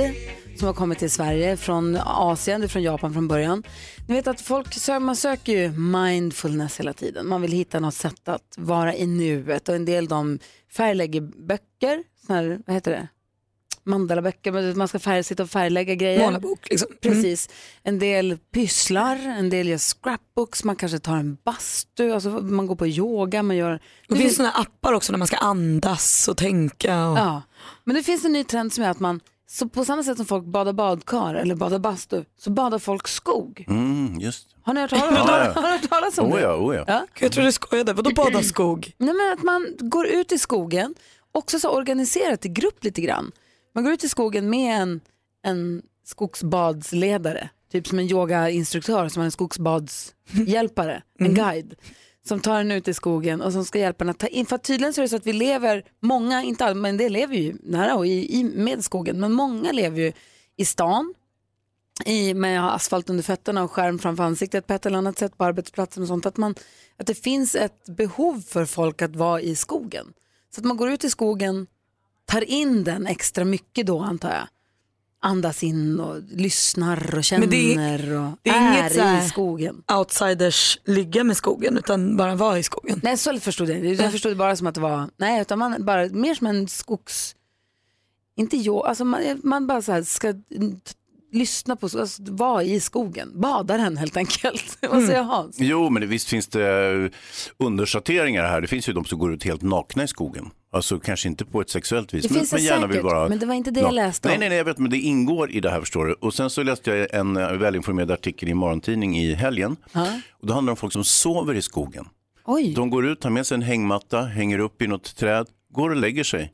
som har kommit till Sverige från Asien, det är från Japan från början. Ni vet att folk sö- man söker ju mindfulness hela tiden. Man vill hitta något sätt att vara i nuet och en del de färglägger böcker, såna här, vad heter det? mandalaböcker, men man ska färg, sitta och färglägga grejer. Måla bok, liksom. Mm. Precis. En del pysslar, en del gör scrapbooks, man kanske tar en bastu, alltså man går på yoga, man gör... Det finns sådana appar också när man ska andas och tänka. Och... Ja. Men det finns en ny trend som är att man, så på samma sätt som folk badar badkar eller badar bastu, så badar folk skog. Mm, just det. Har ni hört talas, Ja, ja. har ni hört talas om Oh det? ja, oh ja. Ja. Jag trodde du skojade, vadå bada skog? Nej, men att man går ut i skogen, också så organiserat i grupp lite grann. Man går ut i skogen med en, en skogsbadsledare, typ som en yogainstruktör som har en skogsbadshjälpare, en guide. Som tar en ut i skogen och som ska hjälpa en att ta in. För att tydligen så är det så att vi lever, många, inte alla, men det lever ju nära och i, i, med skogen, men många lever ju i stan i, med att ha asfalt under fötterna och skärm framför ansiktet på ett eller annat sätt på arbetsplatsen och sånt. Att, man, att det finns ett behov för folk att vara i skogen. Så att man går ut i skogen, tar in den extra mycket då antar jag. Andas in och lyssnar och känner Men det är- och det är är inget så här- i skogen. Outsiders ligga med skogen utan bara vara i skogen. Nej, så förstod jag det. Jag förstod det bara som att det var, nej, utan man bara, mer som en skogs, inte jag, alltså man, man bara så här ska mm, t- lyssna på, alltså, vara i skogen, bada den helt enkelt. Mm. Vad säger Hans? Jo, men det- visst finns det undersorteringar här. Det finns ju de som går ut helt nakna i skogen. Alltså kanske inte på ett sexuellt vis, Det men, finns det men gärna vill säkert, vara men det var inte det jag läste om. Nej, nej, nej, jag vet, men det ingår i det här förstår du. Och sen så läste jag en eh, välinformerad artikel i morgontidning i helgen. Ja. Och det handlar om folk som sover i skogen. Oj. De går ut, tar med sig en hängmatta, hänger upp i något träd, går och lägger sig.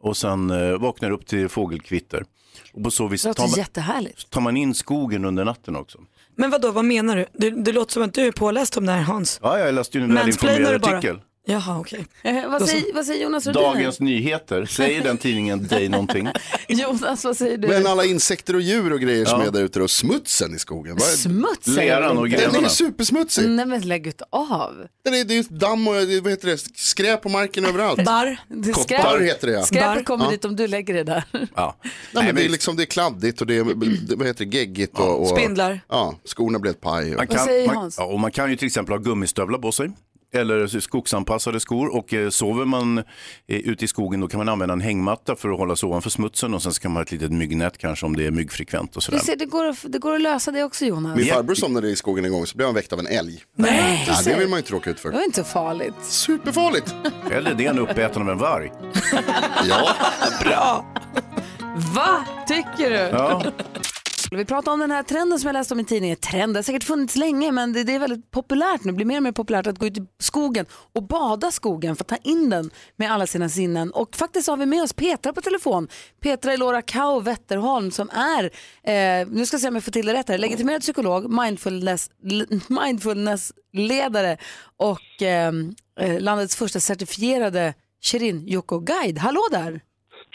Och sen eh, vaknar upp till fågelkvitter. Och på så vis Det låter tar man, jättehärligt. tar man in skogen under natten också. Men vad då? vad menar du? Det, det låter som att du är påläst om det här Hans. Ja, jag läste ju en Mansplainar du välinformerad bara? artikel. Jaha okej. Eh, Då vad, så. säger, vad säger Jonas Rhodiner? Dagens Nyheter, säger den tidningen dig någonting? Jonas, alltså, vad säger du? Men alla insekter och djur och grejer som Ja. är där ute och smutsen i skogen. vad är- Smuts säger Leran och du. Den är ju grenarna. supersmutsig. Nej men lägg ut av. Den är, det är ju damm och vad heter det, skräp på marken överallt. Barr. Det är Koppar heter det, ja. Skräpet Barr. kommer Ja. dit om du lägger det där. Ja. Nej, Nej, men det, är men liksom, det är kladdigt och det är det- vad heter det, geggigt. Och, och, Spindlar. Ja, skorna blev ett paj. Och, man, kan, säger man, Hans? ja, och man kan ju till exempel ha gummistövlar på sig. Eller skogsanpassade skor och eh, sover man eh, ute i skogen då kan man använda en hängmatta för att hålla sig ovanför smutsen och sen så kan man ha ett litet myggnät kanske om det är myggfrekvent och Du sådär. ser, det, går, att- det går att lösa det också Jonas. min farbror somnade i skogen en gång så blev han väckt av en älg. Nej, Ja, du det ser. vill man ju inte råka ut det för. var inte så farligt. Superfarligt. Eller det är en uppäten av en varg. Ja, Va? Tycker du? Ja. Vi pratar om den här trenden som jag läste om i tidningen. Trend, det har säkert funnits länge men det, det är väldigt populärt nu. Det blir mer och mer populärt att gå ut i skogen och bada skogen för att ta in den med alla sina sinnen. Och faktiskt så har vi med oss Petra på telefon. Petra Elora Kau Wetterholm som är, eh, nu ska jag se om jag får till det rätt här, legitimerad psykolog, mindfulness, l- mindfulnessledare och eh, eh, landets första certifierade Shirin Yoko Guide. Hallå där!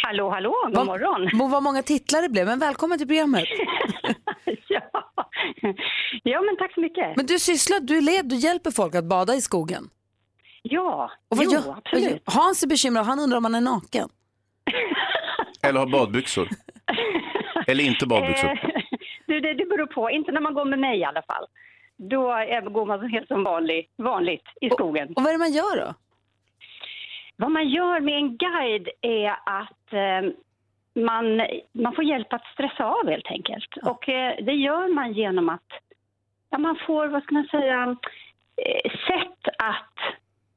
Hallå, hallå, god Vad- morgon. Mo, Vad många titlar det blev, men välkommen till programmet. ja. ja, men tack så mycket. Men du sysslar, du led, du hjälper folk att bada i skogen. Ja, vad jo, gör- vad absolut. gör- Hans är bekymrad, han undrar om han är naken. Eller ha badbyxor. Eller inte badbyxor. Eh, du, det, det beror på, inte när man går med mig i alla fall. Då är- går man helt som vanlig, vanligt i skogen. Och vad är det man gör då? Vad man gör med en guide är att eh, man, man får hjälp att stressa av helt enkelt. Och eh, det gör man genom att ja, man får, vad ska man säga, eh, sätt att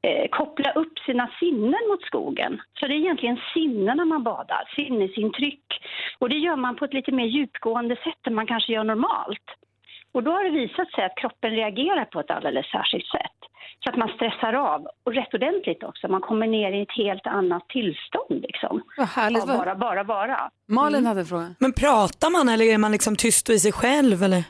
eh, koppla upp sina sinnen mot skogen. Så det är egentligen sinnena man badar, sinnesintryck. Och det gör man på ett lite mer djupgående sätt än man kanske gör normalt. Och då har det visat sig att kroppen reagerar på ett alldeles särskilt sätt. Så att man stressar av, och rätt ordentligt också. Man kommer ner i ett helt annat tillstånd liksom. Vad härligt. Av Vad... bara, bara, bara. Mm. Malin hade en fråga. Men pratar man eller är man liksom tyst och i sig själv eller?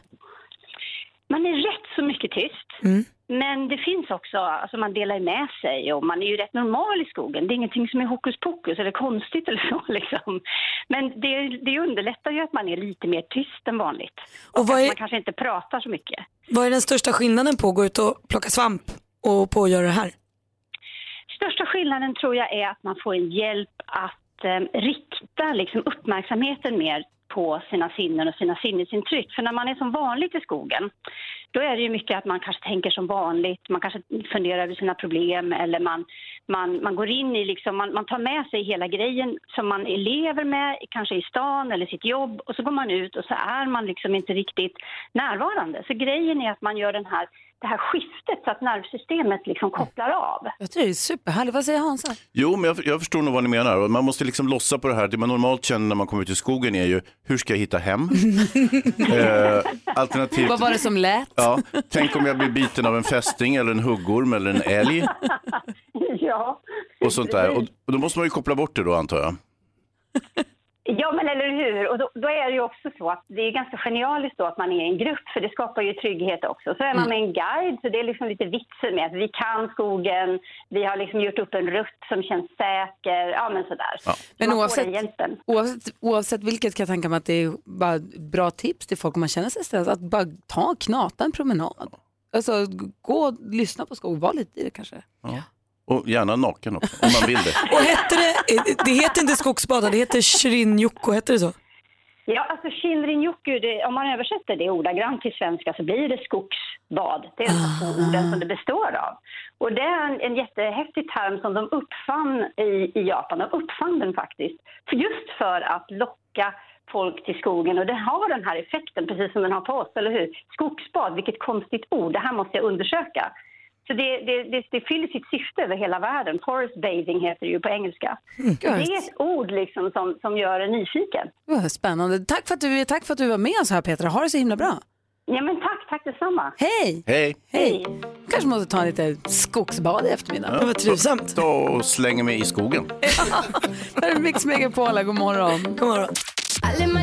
Man är rätt så mycket tyst. Mm. Men det finns också, alltså man delar med sig och man är ju rätt normal i skogen. Det är ingenting som är hokus pokus eller konstigt eller så liksom. Men det, det underlättar ju att man är lite mer tyst än vanligt. Och, Och vad att är, man kanske inte pratar så mycket. vad är den största skillnaden på att gå ut och plocka svamp och på att göra det här? Största skillnaden tror jag är att man får en hjälp att eh, rikta liksom, uppmärksamheten mer på sina sinnen och sina sinnesintryck. För när man är som vanligt i skogen då är det ju mycket att man kanske tänker som vanligt, man kanske funderar över sina problem eller man, man, man går in i liksom, man, man tar med sig hela grejen som man lever med, kanske i stan eller sitt jobb och så går man ut och så är man liksom inte riktigt närvarande. Så grejen är att man gör den här, det här skiftet så att nervsystemet liksom kopplar av. Jag tror det är superhärligt. Vad säger Hansa? Jo, men jag, jag förstår nog vad ni menar. Och Man måste liksom lossa på det här. Det man normalt känner när man kommer ut i skogen är ju, hur ska jag hitta hem? eh, alternativt, Vad var det som lät? ja, tänk om jag blir biten av en fästing eller en huggorm eller en älg ja. och sånt där. Och, och då måste man ju koppla bort det då antar jag. Ja, men eller hur? Och då, då är det ju också så att det är ganska genialiskt då att man är i en grupp, för det skapar ju trygghet också. Så är Mm. man med en guide, så det är liksom lite vitsen med att vi kan skogen, vi har liksom gjort upp en rutt som känns säker, ja men sådär. Men man får oavsett- den hjälpen. Oavsett, oavsett vilket kan jag tänka mig att det är bara bra tips till folk om man känner sig stressad. Att bara ta, knata en promenad. Alltså g- gå och lyssna på skog, var lite i det kanske. Ja. Och gärna naken också, om man vill det. Och hette det, eh, det heter inte skogsbada, det heter Srinjoko, heter det så? Ja, alltså Shinrin-yoku, det- om man översätter det ordagrant till svenska så blir det skogsbad. Det är alltså orden som det består av. Och det är en, en jättehäftig term som de uppfann i, i Japan. De uppfann den faktiskt, för just för att locka folk till skogen. Och det har den här effekten, precis som den har på oss, eller hur? Skogsbad, vilket konstigt ord, det här måste jag undersöka. Så det, det, det, det fyller sitt syfte över hela världen. Forest bathing heter det ju på engelska. Mm. Det är ett ord liksom som, som gör en nyfiken. Vad Spännande. Tack för, att du, tack för att du var med oss här Petra, ha det så himla bra. Ja men tack, tack detsamma. Hej! Hej! Hej! kanske måste ta lite skogsbad i eftermiddag. Ja, Ta ta och släng mig i skogen. Här är Mix Megapola, god morgon. God morgon.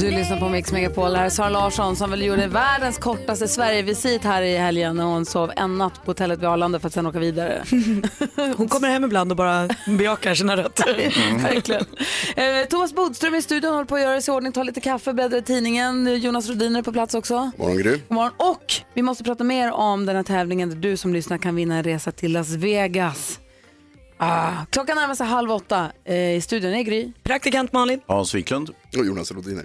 Du lyssnar på Mix Megapol. Här är Sara Larsson som väl gjorde världens kortaste Sverigevisit här i helgen när hon sov en natt på hotellet vid Arlanda för att sen åka vidare. Hon kommer hem ibland och bara bejakar sina rötter. Mm. Verkligen. Eh, Thomas Bodström i studion håller på att göra sig i ordning, ta lite kaffe, bläddra i tidningen. Jonas Rhodiner är på plats också. Morgon Gry. God morgon. Och vi måste prata mer om den här tävlingen där du som lyssnar kan vinna en resa till Las Vegas. Ah, klockan närmar sig halv åtta. Eh, I studion är Gry. Praktikant Malin. Hans Wiklund. Och Jonas Rodiner.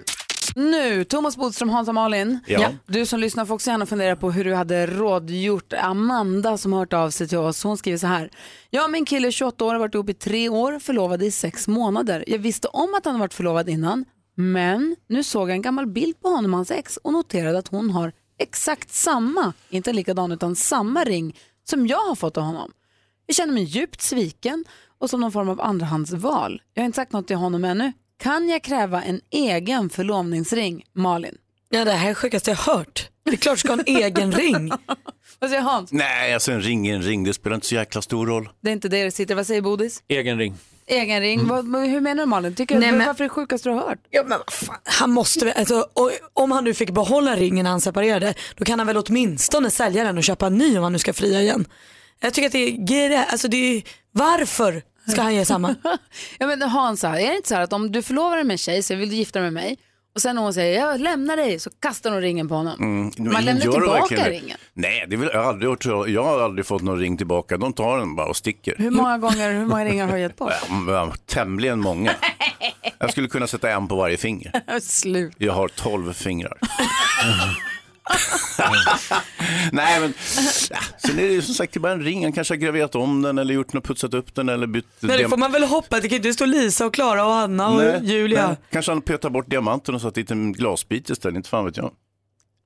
Nu, Thomas Bodström, Hans och Malin. Ja. Ja. Du som lyssnar får också gärna fundera på hur du hade rådgjort Amanda som har hört av sig till oss. Hon skriver så här. Jag och min kille är 28 år, har varit ihop i tre år, förlovade i sex månader. Jag visste om att han har varit förlovad innan, men nu såg jag en gammal bild på honom och hans ex och noterade att hon har exakt samma, inte likadan utan samma ring som jag har fått av honom. Jag känner mig djupt sviken och som någon form av andrahandsval. Jag har inte sagt något till honom ännu. Kan jag kräva en egen förlovningsring, Malin? Ja, det här är sjukaste jag hört. Det är klart du ska ha en egen ring. Vad säger Hans? Nej, alltså en ring är en ring. Det spelar inte så jäkla stor roll. Det är inte det det sitter. Vad säger Bodis? Egen ring. Egen ring. Vad, hur menar du Malin? Tycker Mm. Nej, du, men- Varför är det sjukaste du har hört? Ja, men vad fan, han måste väl, alltså, och, om han nu fick behålla ringen när han separerade, då kan han väl åtminstone sälja den och köpa en ny om han nu ska fria igen. Jag tycker att det är, grä- alltså det är varför ska han ge samma? ja, men Hansa, är det inte så här att om du förlovar dig med en tjej så vill du gifta dig med mig och sen när hon säger jag lämnar dig så kastar hon ringen på honom. Mm, men Man lämnar gör det tillbaka verkligen det? ringen. Nej, det vill jag aldrig gjort. så. Jag har aldrig fått någon ring tillbaka. De tar den bara och sticker. Hur många gånger, hur många ringar har du gett bort? Mm, mm, Tämligen många. Jag skulle kunna sätta en på varje finger. Slut. Jag har tolv fingrar. Nej, men ja, sen är det ju som sagt det är bara en ring. Han kanske har graverat om den eller gjort något, putsat upp den eller bytt. Nej, det diam- får man väl hoppa. Det kan ju inte stå Lisa och Klara och Anna och Nej, Julia. nej. Kanske han petar bort diamanten och satt dit en glasbit istället, inte fan vet jag.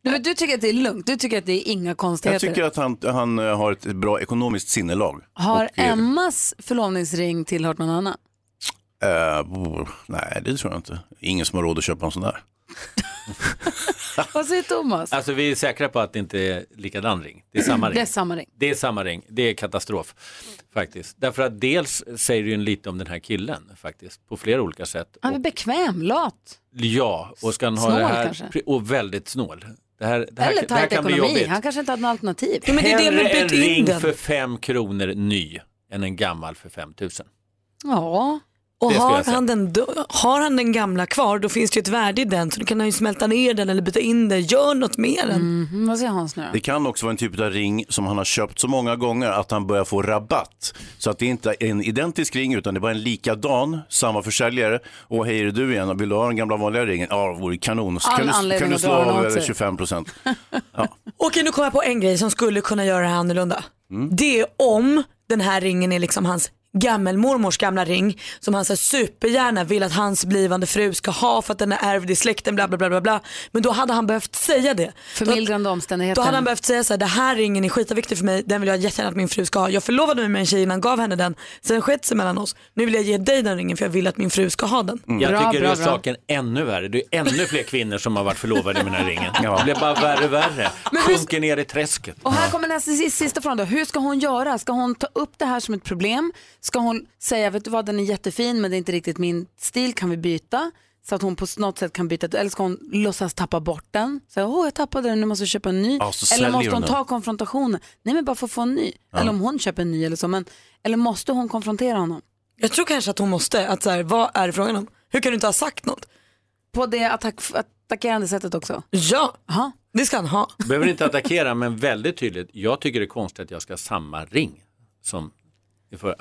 Du, men du tycker att det är lugnt, du tycker att det är inga Jag konstigheter. tycker att han, han eh, har ett bra ekonomiskt sinnelag. Har Och, eh, Emmas förlovningsring tillhört någon annan? eh, brr, nej, det tror jag inte. Ingen som har råd att köpa en sån där. Vad säger Thomas? Alltså vi är säkra på att det inte är likadan ring. Det är samma ring. Det är samma ring. Det är samma ring, det är katastrof faktiskt. Därför att dels säger det ju lite om den här killen faktiskt, på flera olika sätt. Han är bekväm, lat. Ja, och ska han ha Snål det här, kanske? och väldigt snål. Det här, det här, Eller det här tajt kan bli ekonomi. jobbigt. Han kanske inte hade något alternativ. Hellre en ring för fem kronor ny än en gammal för 5 000. Ja, Och Det skulle har jag säga. han, den, då- har han den gamla kvar då finns det ju ett värde i den så då kan han ju smälta ner den eller byta in den, gör något med den. Mm, vad säger Hans nu Det kan också vara en typ av ring som han har köpt så många gånger att han börjar få rabatt. Så att det inte är en identisk ring utan det är bara en likadan, samma försäljare. Och hej är det du igen, vill du ha den gamla vanliga ringen? Ja, det vore kanon. All Kan du, anledning kan du att slå dra den av åt sig. eh, 25 procent? Okej, nu kommer jag på en grej som skulle kunna göra det här annorlunda. Det är om den här ringen är liksom hans gammelmormors gamla ring som han så här supergärna vill att hans blivande fru ska ha för att den är ärvd i släkten bla bla bla bla bla. Men då hade han behövt säga det. Förmildrande Då omständigheter. hade han behövt säga så här, det här ringen är skitviktig för mig, den vill jag jättegärna att min fru ska ha. Jag förlovade mig med en tjej innan, gav henne den, sen skett sig mellan oss. Nu vill jag ge dig den ringen för jag vill att min fru ska ha den. Mm. Jag tycker det är saken ännu värre. Det är ännu fler kvinnor som har varit förlovade med den här ringen. Det blir bara värre och värre. Sjunker ner i träsket. Och här kommer nästa si- sista frågan då. Hur ska hon göra? Ska hon ta upp det här som ett problem? Ska hon säga, vet du vad, den är jättefin men det är inte riktigt min stil, kan vi byta? Så att hon på något sätt kan byta, eller ska hon låtsas tappa bort den? Så, åh jag tappade den, nu måste jag köpa en ny. Ja, så eller säljer måste hon hon den. ta konfrontationen? Nej men bara för att få en ny. Ja. Eller om hon köper en ny eller så. Men, eller måste hon konfrontera honom? Jag tror kanske att hon måste, att så här, vad är det frågan om? Hur kan du inte ha sagt något? På det attack, attackerande sättet också? Ja, det ska han ha. Behöver inte attackera, men väldigt tydligt. Jag tycker det är konstigt att jag ska ha samma ring. Som, för,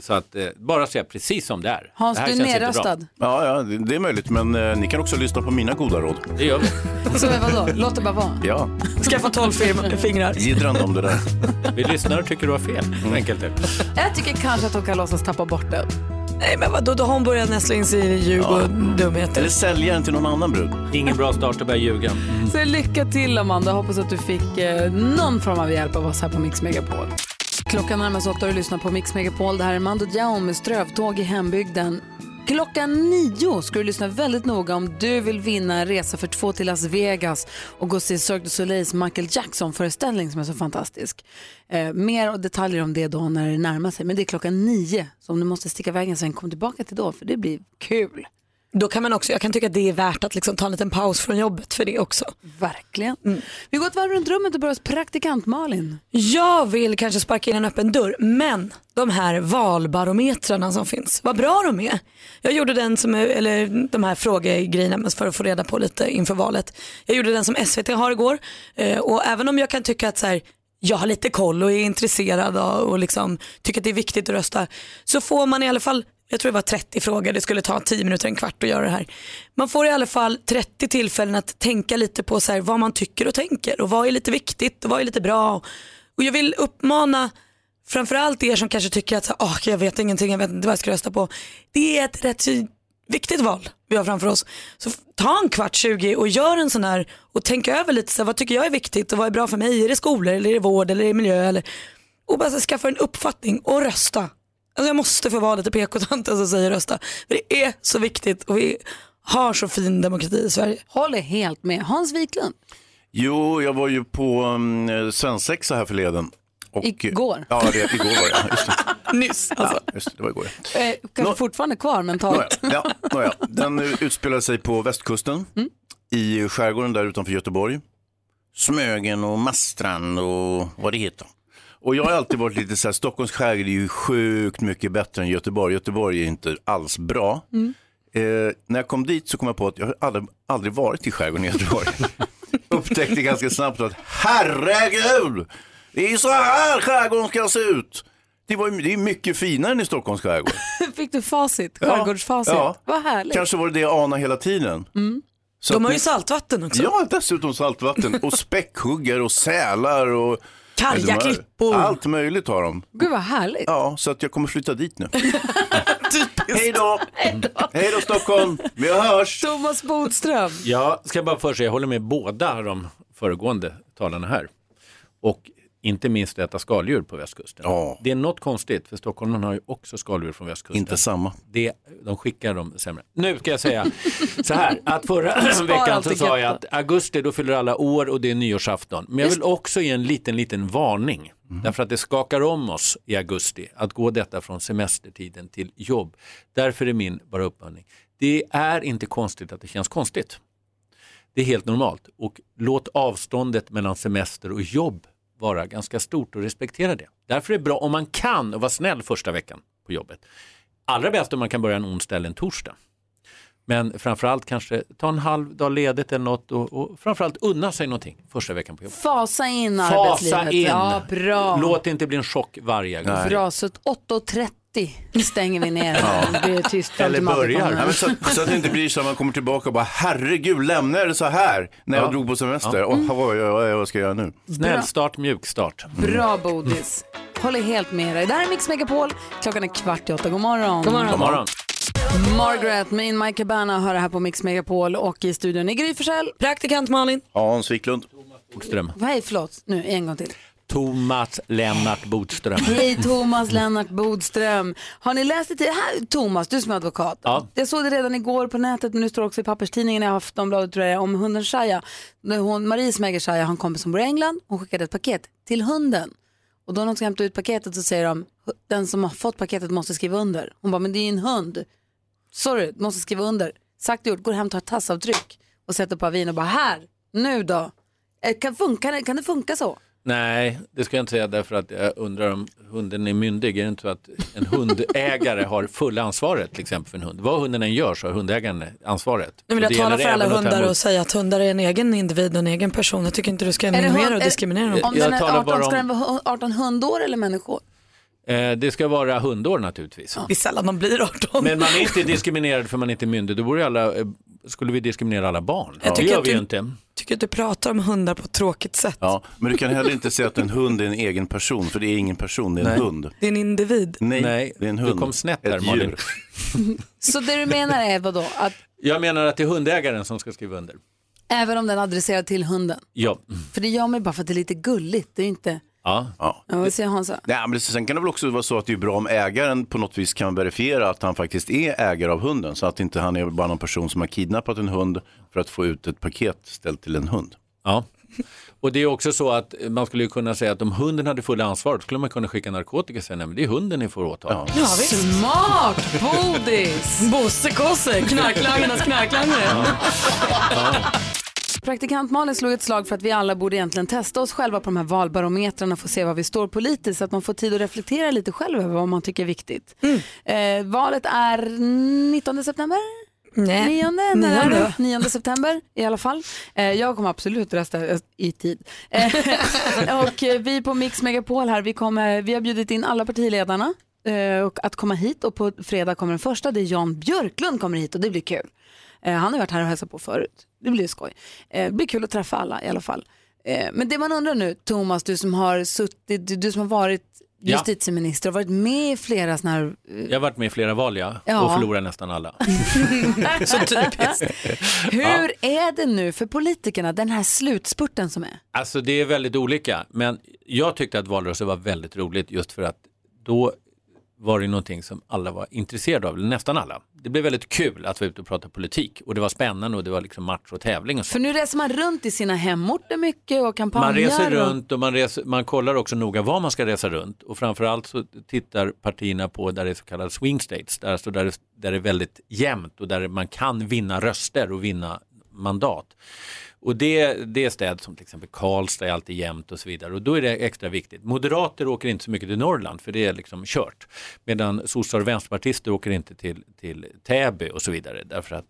så att eh, bara säga precis som det är. Hans, det här du är känns inte bra. nedröstad. Ja, ja, det det är möjligt. Men eh, ni kan också lyssna på mina goda råd. Det gör vi. Så vadå, låt det bara vara. Ja. Skaffa tolv fingrar. Jiddrande om det där. Vi lyssnar och tycker du har fel. Enkelt är det. Jag tycker kanske att hon kan låtsas tappa bort den. Nej men vadå, då har hon börjat näsla in sig i ljug och dumheter. Eller sälja den till någon annan brud. Ingen bra start att börja ljuga. Så lycka till Amanda, hoppas att du fick eh, någon form av hjälp av oss här på Mix Megapol. Klockan närmar sig åtta och du lyssnar på Mix Megapol. Det här är Mando Diao med strövtåg i hembygden. Klockan nio ska du lyssna väldigt noga om du vill vinna en resa för två till Las Vegas och gå och se Cirque du Soleils Michael Jackson-föreställning som är så fantastisk. Eh, mer och detaljer om det då när det närmar sig, men det är klockan nio. Så om du måste sticka vägen sen, kom tillbaka till då, för det blir kul. Då kan man också, jag kan tycka att det är värt att liksom ta en liten paus från jobbet för det också. Mm. Verkligen. Vi går ett varv runt rummet och börjar hos praktikant Malin. Jag vill kanske sparka in en öppen dörr, men de här valbarometrarna som finns, vad bra de är. Jag gjorde den som, eller de här frågegrejerna men för att få reda på lite inför valet. Jag gjorde den som SVT har igår eh, och även om jag kan tycka att så här, jag har lite koll och är intresserad av- och liksom tycker att det är viktigt att rösta så får man i alla fall, jag tror det var 30 frågor, det skulle ta 10 minuter, en kvart att göra det här. Man får i alla fall 30 tillfällen att tänka lite på så här, vad man tycker och tänker och vad är lite viktigt och vad är lite bra. Och jag vill uppmana framförallt er som kanske tycker att så, här, "Åh, jag vet ingenting, jag vet inte vad jag ska rösta på. Det är ett rätt så viktigt val vi har framför oss. Så f- ta en kvart 20 och gör en sån här och tänk över lite så här, vad tycker jag är viktigt och vad är bra för mig? Är det skolor eller är det vård eller är det miljö? Eller... Och bara så här, skaffa en uppfattning och rösta. Alltså jag måste få vara lite PK-tanten som säger rösta. För det är så viktigt och vi har så fin demokrati i Sverige. Håller helt med. Hans Wiklund. Jo, jag var ju på um, svensexa här förleden. Och, Igår. Ja, det, igår var det. Just det. Nyss alltså. Ja, just det, det var igår. Eh, kanske fortfarande kvar Nåja, mentalt. ja, nåja. Den eh, utspelade sig på västkusten, i skärgården där utanför Göteborg. Smögen och Mastrand och vad det heter. Och jag har alltid varit lite så här, Stockholms skärgård är ju sjukt mycket bättre än Göteborg. Göteborg är inte alls bra. Eh, när jag kom dit så kom jag på att jag har aldrig, aldrig varit i skärgården i Göteborg. Upptäckte ganska snabbt att herregud, det är så här skärgården ska se ut. Det, var, ju- det är mycket finare än i Stockholms skärgård. Fick du facit? Skärgårdsfacit? Ja. Vad härligt. Kanske var det det jag anade hela tiden. Så Mm. De att har ni- ju saltvatten också. Ja, dessutom saltvatten och späckhuggare och sälar och Karjaklippor. Allt möjligt har de. Gud vad härligt. Ja, så att jag kommer flytta dit nu. Hej då! Hej då Stockholm, vi hörs! Thomas Bodström. Jag ska bara först säga, jag håller med båda de föregående talarna här. Och inte minst äta skaldjur på västkusten. Det är något konstigt, för stockholmarna har ju också skaldjur från västkusten. Inte samma. Det, de skickar dem sämre. Nu ska jag säga så här, att De förra sparar veckan så alltid sa jag gött. att augusti då fyller alla år och det är nyårsafton. Men jag vill också ge en liten, liten varning. Därför att det skakar om oss i augusti att gå detta från semestertiden till jobb. Därför är min bara uppmaning. Det är inte konstigt att det känns konstigt. Det är helt normalt och låt avståndet mellan semester och jobb vara ganska stort och respektera det. Därför är det bra om man kan och vara snäll första veckan på jobbet. allra bäst om man kan börja en onsdag eller en torsdag. Men framförallt kanske ta en halv dag ledigt eller något och, och framförallt unna sig någonting första veckan på jobbet. Fasa in Fasa arbetslivet. in. Ja, bra. Låt det inte bli en chock varje gång. Bra, så att 8.30 stänger vi ner. Det blir tyst fram Eller till Madde börjar. kommer. Ja, men så, så att det inte blir så att man kommer tillbaka och bara herregud lämnar jag det så här när jag Ja. drog på semester. Ja. Mm. Och, vad, vad, vad ska jag göra nu? Mm. Snäll start, mjuk start. Bra Bodis. Håller helt med dig. Det här är Mix Megapol. Klockan är kvart i åtta. God morgon. God morgon. God morgon. Margaret med In My Cabana hör här på Mix Megapol och i studion är Gry Forssell. Praktikant Malin. Hans Wiklund. Bodström. Nej, förlåt. Nu, en gång till. Thomas Lennart Bodström. Hej Thomas Lennart Bodström. Har ni läst det till här? Thomas, du som är advokat. Ja. Jag såg det redan igår på nätet men nu står det också i papperstidningen i Aftonbladet tror jag, om hunden Shia. När Hon, Marie Smäger Shia har en kompis som bor i England. Hon skickade ett paket till hunden. Och då när de ska hämta ut paketet så säger de den som har fått paketet måste skriva under. Hon bara, men det är ju en hund. Sorry, du måste skriva under. Sagt och gjort, går hem, tar ett tassavtryck och sätter på avin och bara här, nu då. Eh, Kan, funka, kan det funka så? Nej, det ska jag inte säga därför att jag undrar om hunden är myndig. Är det inte så att en hundägare har fulla ansvaret till exempel för en hund? Vad hunden än gör så har hundägaren ansvaret. Nu vill Och jag det tala gäller för alla även att ta hundar emot- och säga att hundar är en egen individ och en egen person. Jag tycker inte du ska det minimera hund- och är- diskriminera dem. Om Jag den är talar 18, bara om- ska den vara hu- 18 hundår eller människor? Eh, det ska vara hundår naturligtvis. Det är sällan de blir 18. Men man är inte diskriminerad för man är inte myndig. Då borde alla, eh, skulle vi diskriminera alla barn. Jag det tycker gör att vi du- ju inte. tycker att du pratar om hundar på ett tråkigt sätt. Ja, men du kan heller inte säga att en hund är en egen person, för det är ingen person, det är en Nej. hund. Det är en individ. Nej, Nej, det är en du hund. kom snett där, Ett Malin. djur. Så det du menar är vadå? Att Jag menar att det är hundägaren som ska skriva under. även om den adresserar till hunden? Ja. För det gör man ju bara för att det är lite gulligt. Det är ju inte... Ja. ja. Ja, vad säger Hansa? Nej, men sen kan det väl också vara så att det är bra om ägaren på något vis kan verifiera att han faktiskt är ägare av hunden. Så att inte han är bara någon person som har kidnappat en hund för att få ut ett paket ställt till en hund. Ja. Och det är också så att eh, man skulle ju kunna säga att om hunden hade fulla ansvaret skulle man kunna skicka narkotika och säga nej men det är hunden ni får åtala. Ja, visst. Smart bodis! Bosse Kosse, knarklangarnas knarklangare. Praktikant Malin slog ett slag för att vi alla borde egentligen testa oss själva på de här valbarometrarna för att se var vi står politiskt så att man får tid att reflektera lite själv över vad man tycker är viktigt. Mm. Eh, valet är 19 september? Nej. Nionde, när är Nionde. det? 9 september i alla fall. Eh, jag kommer absolut rösta eh, i tid. Eh, och eh, vi på Mix Megapol här, vi, kommer, vi har bjudit in alla partiledarna eh, och att komma hit och på fredag kommer den första, det är Jan Björklund kommer hit och det blir kul. Eh, han har varit här och hälsat på förut, det blir skoj. Eh, det blir kul att träffa alla i alla fall. Eh, men det man undrar nu, Thomas, du som har suttit, du, du som har varit Ja. justitieminister och varit med i flera sådana här eh, Jag har varit med i flera val ja, Ja. och förlorar nästan alla. Så typiskt. Hur är det nu för politikerna, den här slutspurten som är? Alltså det är väldigt olika, men jag tyckte att valrörelsen var väldigt roligt just för att då var det någonting som alla var intresserade av, eller nästan alla. Det blev väldigt kul att vara ute och prata politik och det var spännande och det var liksom match och tävling och så. För nu reser man runt i sina hemorter mycket och kampanjer. Man reser och- runt och man, reser, man kollar också noga var man ska resa runt och framförallt så tittar partierna på där det är så kallade swing states, där, alltså där, det, där det är väldigt jämnt och där man kan vinna röster och vinna mandat. Och det, det är städer som till exempel Karlstad är alltid jämnt och så vidare och då är det extra viktigt. Moderater åker inte så mycket till Norrland för det är liksom kört. Medan sossar och vänsterpartister åker inte till, till Täby och så vidare därför att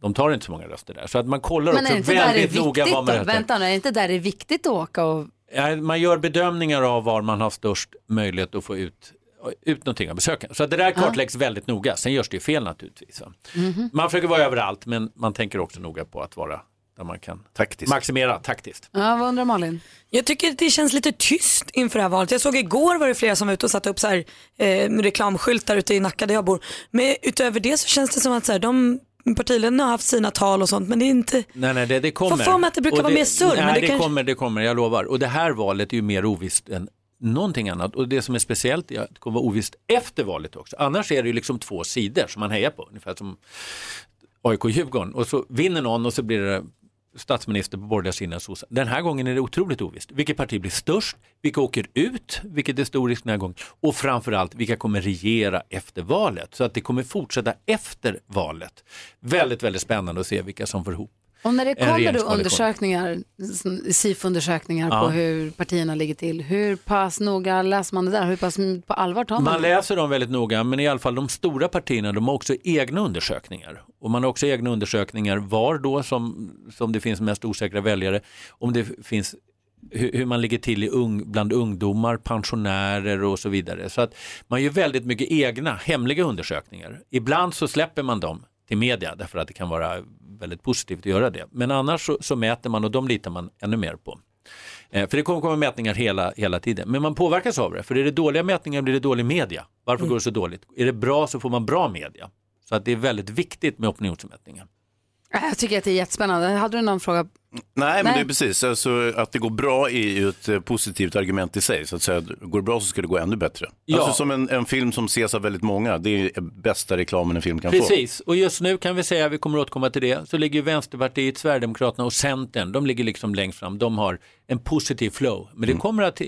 de tar inte så många röster där. Så att man kollar Men är det också inte där det är väldigt noga viktigt vad man då? röstar. Vänta nu, är det inte där det är viktigt att åka och... Ja, Man gör bedömningar av var man har störst möjlighet att få ut, ut någonting av besökaren. Så det där kartläggs väldigt noga. Sen görs det ju fel naturligtvis. va. Man försöker vara överallt men man tänker också noga på att vara där man kan maximera taktiskt. Ja, vad undrar Malin? Jag tycker det känns lite tyst inför det här valet. Jag såg igår var det flera som var ute och satte upp så här, eh, reklamskyltar ute i Nacka där jag bor. Men utöver det så känns det som att så här, de partiledarna har haft sina tal och sånt men det är inte Nej, nej, det, det kommer. Får för mig att det brukar Och vara mer surr, men Nej, det det, kanske- kommer, det kommer, jag lovar. Och det här valet är ju mer ovisst än någonting annat. Och det som är speciellt är att det kommer vara ovisst efter valet också. Annars är det ju liksom två sidor som man hejar på, ungefär som AIK-Djurgården. Och så vinner någon och så blir det statsminister på borgerliga sidan sossar. Den här gången är det otroligt ovisst. Vilket parti blir störst? Vilka åker ut? Vilket är stor risk den här gången? Och framförallt, vilka kommer regera efter valet? Så att det kommer fortsätta efter valet. Väldigt, väldigt spännande att se vilka som får ihop Och när det en kommer då regeringskoalition. undersökningar, SIF-undersökningar Ja. på hur partierna ligger till, hur pass noga läser man det där? Hur pass m- på allvar tar man, Man det? läser dem väldigt noga, men i alla fall de stora partierna de har också egna undersökningar. Och man har också egna undersökningar var då som, som det finns mest osäkra väljare, om det finns hur, hur man ligger till i ung, bland ungdomar, pensionärer och så vidare. Så att man gör väldigt mycket egna, hemliga undersökningar. Ibland så släpper man dem till media därför att det kan vara väldigt positivt att göra det. Men annars så, så mäter man och de litar man ännu mer på. Eh, För det kommer komma mätningar hela, hela tiden. Men man påverkas av det. För är det dåliga mätningar blir det dålig media. Mm. Varför går det så dåligt? Är det bra så får man bra media. Så att det är väldigt viktigt med opinionsmätningar. Äh, Jag tycker att det är jättespännande. Hade du någon fråga? Nej, men Nej. det är precis. Alltså, att det går bra är ju ett eh, positivt argument i sig. Så att säga, går det bra så ska det gå ännu bättre. Ja. Alltså som en, en film som ses av väldigt många. Det är ju bästa reklamen en film kan få. Precis, och just nu kan vi säga, vi kommer återkomma till det, så ligger ju Vänsterpartiet, Sverigedemokraterna och Centern, de ligger liksom längst fram, de har en positiv flow. Men det kommer att eh,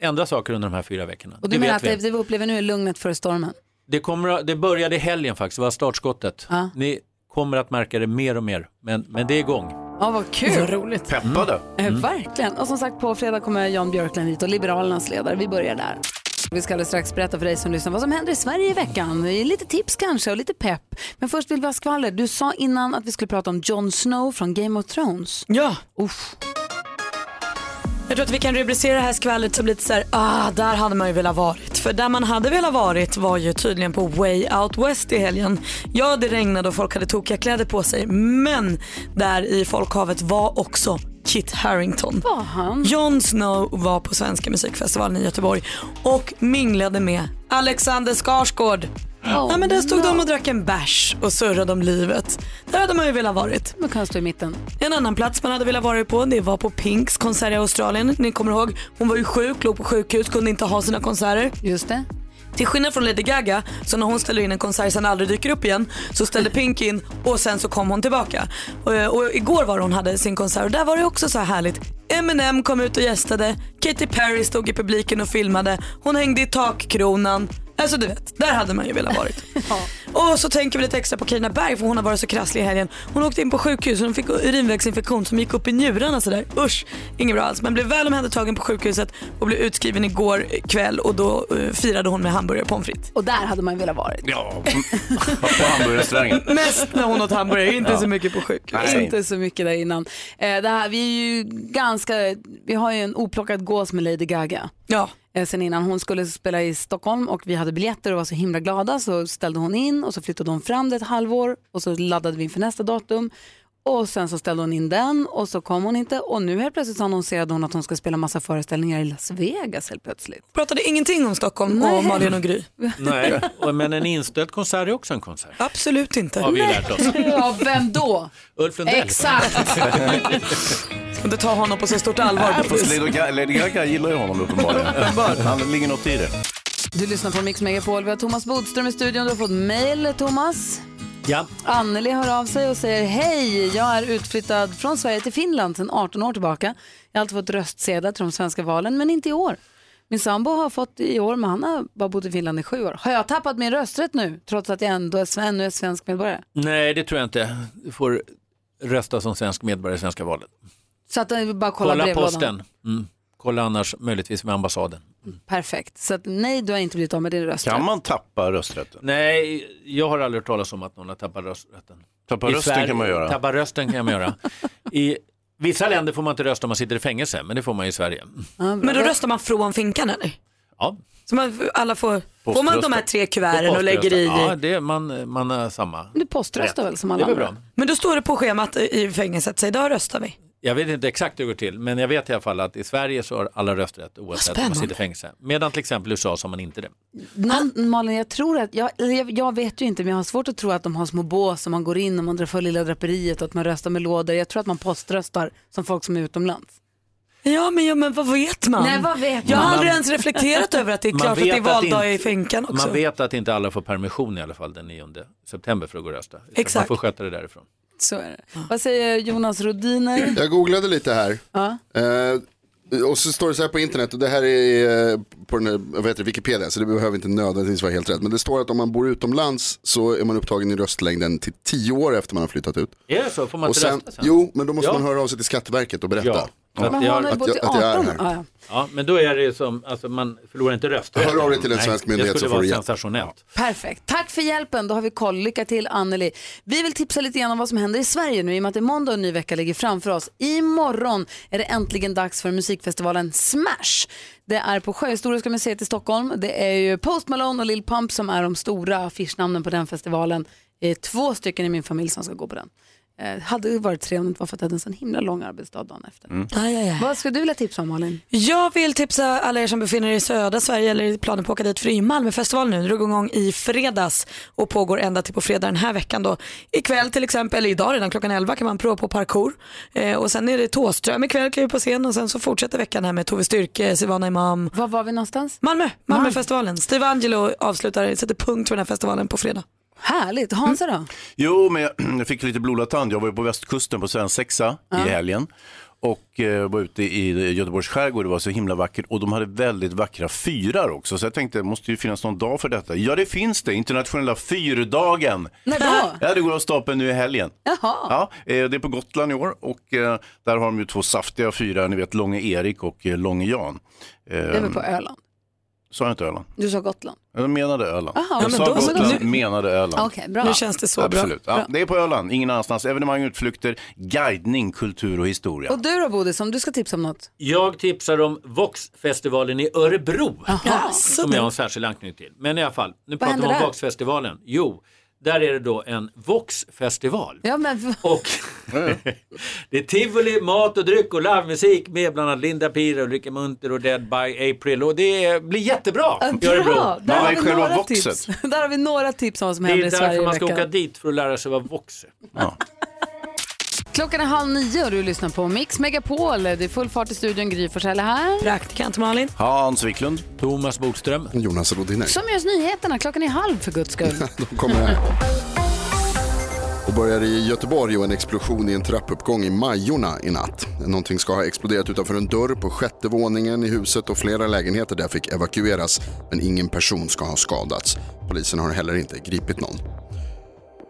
ändra saker under de här fyra veckorna. Mm. Och du Det menar vet att vi. det, det vi upplever nu är lugnet före stormen? Det, kommer, att- det började i helgen faktiskt, det var startskottet. Ni kommer att märka det mer och mer, men, men det är igång. Mm. Ja, vad kul. roligt. Peppade. Eh, Verkligen. Och som sagt, på fredag kommer Jan Björklund hit och Liberalernas ledare. Vi börjar där. Vi ska alldeles strax berätta för dig som lyssnar vad som händer i Sverige i veckan. Lite tips kanske och lite pepp. Men först vill vi ha skvaller. Du sa innan att vi skulle prata om Jon Snow från Game of Thrones. Ja. Uff. Jag tror att vi kan rubricera det här skvallret som lite så här, ah, där hade man ju velat varit. För där man hade velat varit var ju tydligen på Way Out West i helgen. Ja, det regnade och folk hade tokiga kläder på sig, men där i folkhavet var också Kit Harington. Var han? Jon Snow var på Svenska musikfestivalen i Göteborg och minglade med Alexander Skarsgård. Nej, men där stod de och drack en bärs och surrade om livet. Där hade man ju velat varit. Man kan stå i mitten. En annan plats man hade velat vara på det var på Pinks konsert i Australien. Ni kommer ihåg, hon var ju sjuk, låg på sjukhus, kunde inte ha sina konserter. Just det. Till skillnad från Lady Gaga, så när hon ställer in en konsert sen aldrig dyker upp igen, så ställde Pink in och sen så kom hon tillbaka. Och, eh, och igår var det hon hade sin konsert och där var det också så här härligt. Eminem kom ut och gästade, Katy Perry stod i publiken och filmade, hon hängde i takkronan. Alltså du vet, där hade man ju velat varit. Och så tänker vi lite extra på Carina Berg för hon har varit så krasslig i helgen. Hon åkte in på sjukhus och hon fick urinvägsinfektion som gick upp i njurarna sådär. Usch, inget bra alls. Men blev väl omhändertagen på sjukhuset och blev utskriven igår kväll och då eh, firade hon med hamburgare och pommes frites. Och där hade man velat varit. Ja, på hamburgerrestaurangen. Mest när hon åt hamburgare, inte Ja. så mycket på sjukhus. Nej. Inte så mycket där innan. Eh, det här, vi, är ju ganska, vi har ju en oplockad gås med Lady Gaga. Ja. Eh, sen innan hon skulle spela i Stockholm och vi hade biljetter och var så himla glada så ställde hon in och så flyttade hon fram det ett halvår och så laddade vi inför nästa datum. Och sen så ställde hon in den och så kom hon inte och nu helt plötsligt så annonserade hon att hon ska spela massa föreställningar i Las Vegas helt plötsligt. Pratade ingenting om Stockholm och Malin och Gry. Nej, och- men en inställd konsert är också en konsert. Absolut inte. Har vi ju lärt oss. Ja, vem då? Ulf Lundell. Exakt. Ska inte ta honom på så stort allvar. Ja, fast Lady Gaga- Lady Gaga gillar ju honom uppenbarligen. Han ligger något i det. Du lyssnar på Mix Megapol, vi har Thomas Bodström i studion, du har fått mail Thomas. Ja. Anneli hör av sig och säger hej, jag är utflyttad från Sverige till Finland sedan 18 år tillbaka. Jag har alltid fått röstsedlar till de svenska valen, men inte i år. Min sambo har fått i år, men han har bara bott i Finland i sju år. Har jag tappat min rösträtt nu, trots att jag ändå är, sven, nu är svensk medborgare? Nej, det tror jag inte. Du får rösta som svensk medborgare i svenska valet. Så att jag bara kollar Kolla brevlådan. posten. Mm. Kolla annars möjligtvis med ambassaden. Perfekt. Så att, nej, du har inte blivit av med din rösträtt. Kan man tappa rösträtten? Nej, jag har aldrig hört talas om att någon har tappat rösträtten. Tappa I rösten Sverige- kan man göra. Tappa rösten kan man göra. I vissa länder får man inte rösta om man sitter i fängelse, men det får man i Sverige. Men då röstar man från finkan eller? Ja. Så man, alla får, får man de här tre kuverten och lägger i? Ja, det, man, man har samma. Du poströstar väl som Det är alla väl andra? bra. Men då står det på schemat i fängelset, så idag röstar vi. Jag vet inte exakt hur det går till, men jag vet i alla fall att i Sverige så har alla rösträtt oavsett om man spännande. sitter i fängelse. Medan till exempel i USA så har man inte det. Någon, Malin, jag tror att, jag, eller jag, jag vet ju inte, men jag har svårt att tro att de har små bås som man går in och man drar för lilla draperiet och att man röstar med lådor. Jag tror att man poströstar som folk som är utomlands. Ja men, ja, men vad vet man? Nej, vad vet jag har man? aldrig Man- ens reflekterat över att det är Man klart att det vet är valdag inte- i finkan också. Man vet att inte alla får permission i alla fall den 9 september för att gå och rösta. Utan Exakt. Man får sköta det därifrån. Så är det. Vad säger Jonas Rodiner? Jag googlade lite här. Ja. Eh, Och så står det så här på internet, och det här är eh, på den här, vad heter det, Wikipedia, så det behöver inte nödvändigtvis vara helt rätt. Men det står att om man bor utomlands så är man upptagen i röstlängden till tio år efter man har flyttat ut. Är det så? Får man Och inte sen, rösta sen? Jo, men då måste Ja. man höra av sig till Skatteverket och berätta. Ja. Så att Men jag- hon har ju att, bott jag, i att jag är 18. här. Ja, ja. Ja, men då är det ju som, alltså man förlorar inte rösträtten. Hör av dig till en svensk myndighet så Det skulle får vara du hjälp. sensationellt. Perfekt. Tack för hjälpen. Då har vi koll. Lycka till Anneli. Vi vill tipsa lite grann om vad som händer i Sverige nu i och med att det är måndag och en ny vecka ligger framför oss. Imorgon är det äntligen dags för musikfestivalen Smash. Det är på Sjöhistoriska museet i Stockholm. Det är ju Post Malone och Lil Pump som är de stora affischnamnen på den festivalen. Det är två stycken i min familj som ska gå på den. Eh, hade ju varit tre om det inte var för att jag hade en sån himla lång arbetsdag dagen efter. Mm. Aj, aj, aj. Vad ska du vilja tipsa om Malin? Jag vill tipsa alla er som befinner er i södra Sverige eller i planer på att åka dit för det är ju Malmöfestival nu. Den drog igång i fredags och pågår ända till på fredag den här veckan då. Ikväll till exempel, eller idag redan klockan 11 kan man prova på parkour. Eh, och sen är det Thåström ikväll kliver på scen och sen så fortsätter veckan här med Tove Styrke, Silvana Imam. Var var vi någonstans? Ah. Malmö, Malmöfestivalen. Steve Angelo avslutar, sätter punkt för den här festivalen på fredag. Härligt. Hansa Mm. då? Jo, men jag- jag fick lite blodad tand. Jag var ju på västkusten på svensexa i helgen och eh, var ute i Göteborgs skärgård. Det var så himla vackert och de hade väldigt vackra fyrar också. Så jag tänkte, det måste ju finnas någon dag för detta. Ja, det finns det. Internationella fyrdagen. När då? Ja, det går av stapeln nu i helgen. Jaha. Ja, eh, det är på Gotland i år och eh, där har de ju två saftiga fyrar, ni vet Långe Erik och eh, Långe Jan. Eh, Det är väl på Öland? Sa jag inte Öland? Du sa Gotland? Jag menade Öland. Aha, men jag sa då- men då- Gotland, nu- menade Öland. Okej, bra. Nu känns det så bra. Absolut. Bra. Ja, det är på Öland, ingen annanstans. Evenemang, utflykter, guidning, kultur och historia. Och du då Bodis, om du ska tipsa om något? Jag tipsar om Voxfestivalen i Örebro. som jag har en särskild anknytning till. Men i alla fall, nu pratar vi händer om där? Voxfestivalen. Jo, där är det då en Voxfestival. Ja, men... Och det är tivoli, mat och dryck och livemusik med bland annat Linda Pira, Ulrika Munter och Dead by April. Och det blir jättebra Ja, i Örebro. Bra! Där har, vi några tips. där har vi några tips om vad som Det är händer i därför Sverige i man ska veckan. åka dit, för att lära sig vad Vox är. Klockan är halv nio och du lyssnar på Mix Megapol. Det är full fart i studion. Gry Forssell är här. Praktikant Malin. Hans Wiklund. Thomas Bodström. Jonas Rodiner. Som görs nyheterna. Klockan är halv för guds skull. De kommer här. Och börjar i Göteborg och en explosion i en trappuppgång i Majorna i natt. Någonting ska ha exploderat utanför en dörr på sjätte våningen i huset och flera lägenheter där fick evakueras men ingen person ska ha skadats. Polisen har heller inte gripit någon.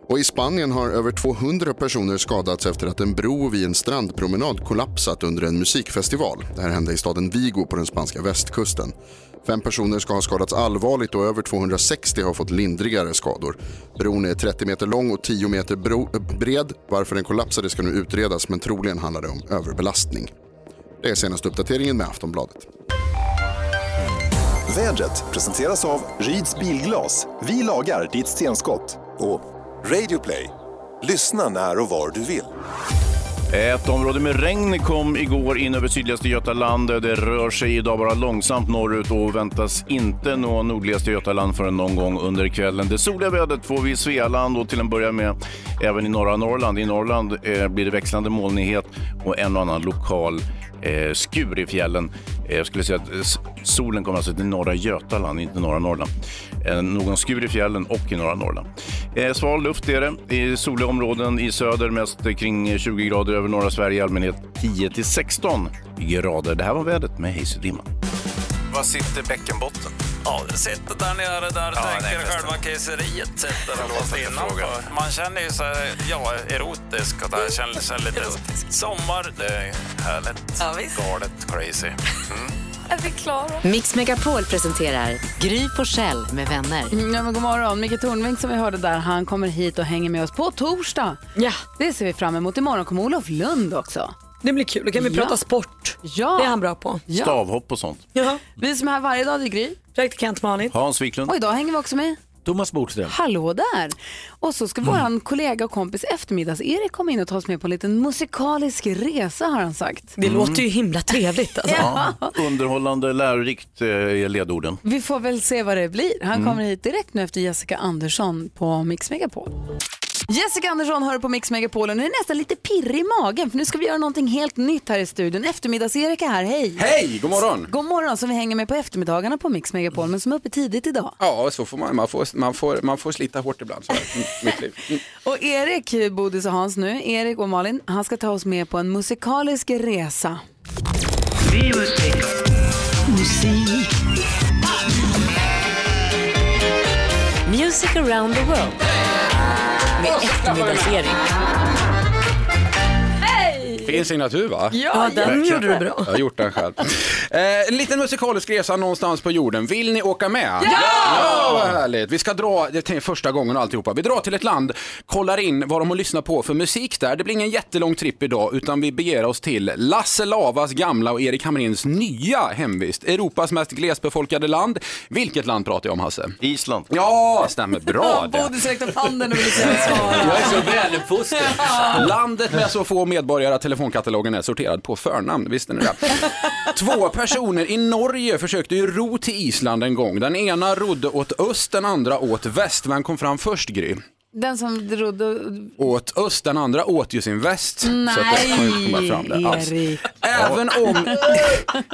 Och i Spanien har över 200 personer skadats efter att en bro vid en strandpromenad kollapsat under en musikfestival. Det här hände i staden Vigo på den spanska västkusten. Fem personer ska ha skadats allvarligt och över 260 har fått lindrigare skador. Bron är 30 meter lång och 10 meter bro- eh, bred. Varför den kollapsade ska nu utredas men troligen handlar det om överbelastning. Det är senaste uppdateringen med Aftonbladet. Vädret presenteras av Ryds Bilglas. Vi lagar ditt stenskott. Och Radioplay. Lyssna när och var du vill. Ett område med regn kom igår in över sydligaste Götaland. Det rör sig idag bara långsamt norrut och väntas inte nå nordligaste Götaland förrän någon gång under kvällen. Det soliga vädret får vi i Svealand och till en början med även i norra Norrland. I Norrland eh, blir det växlande molnighet och en och annan lokal eh, skur i fjällen. Eh, Jag skulle säga att eh, s- solen kommer alltså till norra Götaland, inte norra Norrland. Eh, Någon skur i fjällen och i norra Norrland. Eh, Sval luft är det i soliga områden i söder, mest eh, kring eh, 20 grader över norra Sverige i allmänhet 10 till 16 grader. Det här var vädret med Hayes och Dimman. Var sitter bäckenbotten? Ja, det sitter där nere där Ja, tänker nej, själva kejseriet sitter där fast innanför. Man känner ju sig ja, erotisk och där känner sig lite sommar. Det är härligt. Ja, Galet crazy. Mm. Är vi klara? Mix Megapol presenterar Gry Forssell med vänner. Mm, Ja, men god morgon. Micke Tornving som vi hörde där, han kommer hit och hänger med oss på torsdag. Ja. Det ser vi fram emot. Imorgon kommer Olof Lund också. Det blir kul, då kan vi Ja. prata sport. Ja. Det är han bra på. Stavhopp och sånt. Ja. Vi som är här varje dag, det är Gry. Praktikant Malin. Hans Wiklund. Och idag hänger vi också med Thomas Bodström. Hallå där! Och så ska vår kollega och kompis eftermiddags-Erik komma in och ta oss med på en liten musikalisk resa har han sagt. Det låter ju himla trevligt alltså. Ja, underhållande, lärorikt eh, är ledorden. Vi får väl se vad det blir. Han Mm. kommer hit direkt nu efter Jessica Andersson på Mix Megapol. Jessica Andersson hör på Mix Megapol och nu är jag nästan lite pirrig i magen för nu ska vi göra någonting helt nytt här i studion. Eftermiddags-Erik är här, hej! Hej, god morgon. God morgon som vi hänger med på eftermiddagarna på Mix Megapol men som är uppe tidigt idag. Ja, så får man. Man får, man får, man får slita hårt ibland. Så här, i mitt liv. Mm. Och Erik, Bodis och Hans nu, Erik och Malin, han ska ta oss med på en musikalisk resa. Music. Musik. Music around the world. Med eftermiddagsserien. Fin signatur va? Ja, Ja, den verkligen. gjorde du bra. Jag har gjort den själv. Eh, en liten musikal skrevs han någonstans på jorden. Vill ni åka med? Ja! ja vad härligt. Vi ska dra, det är första gången och alltihopa. Vi drar till ett land, kollar in vad de har lyssnat på för musik där. Det blir ingen jättelång tripp idag utan vi beger oss till Lasse Lavas gamla och Erik Hamrins nya hemvist. Europas mest glesbefolkade land. Vilket land pratar jag om Hasse? Island. Ja, stämmer bra det. Bodis räckte upp handen och ville säga svara. Jag Alltså, är så väluppfostrad. Landet med så få medborgare att telefonkatalogen är sorterad på förnamn, visste ni det? Två personer i Norge försökte ju ro till Island en gång. Den ena rodde åt öst, den andra åt väst. Vem kom fram först, Gry? Den som rodde... Åt öst, den andra åt ju sin väst. så att det kan ju inte komma fram där alls. Erik. Även om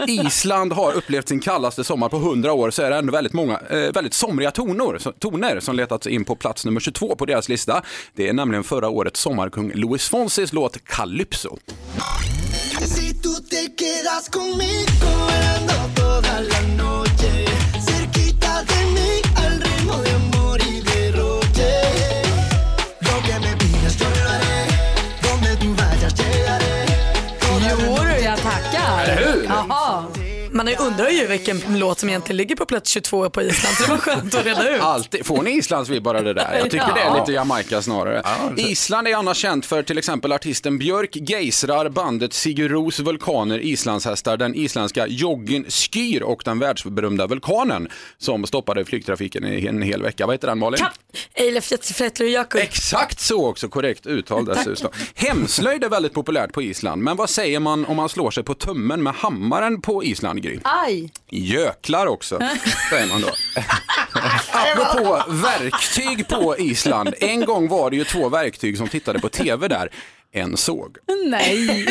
Island har upplevt sin kallaste sommar på 100 år så är det ändå väldigt många eh, väldigt somriga toner, så- toner som letat sig in på plats nummer 22 på deras lista. Det är nämligen förra årets sommarkung Louis Fonsis låt Calypso. Si tú te quedas conmigo bailando toda la noche, cerquita de mí al ritmo de amor y derroche. Lo que me pidas yo lo haré, donde tú vayas llegaré. Jo du, jag tackar. Eller hur? Jaha. Man undrar ju vilken låt som egentligen ligger på plats 22 på Island, så det var skönt att reda ut. Alltid. Får ni Islands vibbar det där? Jag tycker det är Ja. lite Jamaica snarare. Island är annars känt för till exempel artisten Björk, Geisrar, bandet Sigur Ros, Vulkaner, Islandshästar, den isländska joggen Skyr och den världsberömda vulkanen som stoppade flygtrafiken i en hel vecka. Vad heter den Malin? Eilef Fetlujaku. Exakt så också, korrekt uttal Tack. dessutom. Hemslöjd är väldigt populärt på Island, men vad säger man om man slår sig på tummen med hammaren på Island, Gry? Aj! Jöklar också, säger man då. Apropå verktyg på Island. En gång var det ju två verktyg som tittade på tv där. En såg. Nej.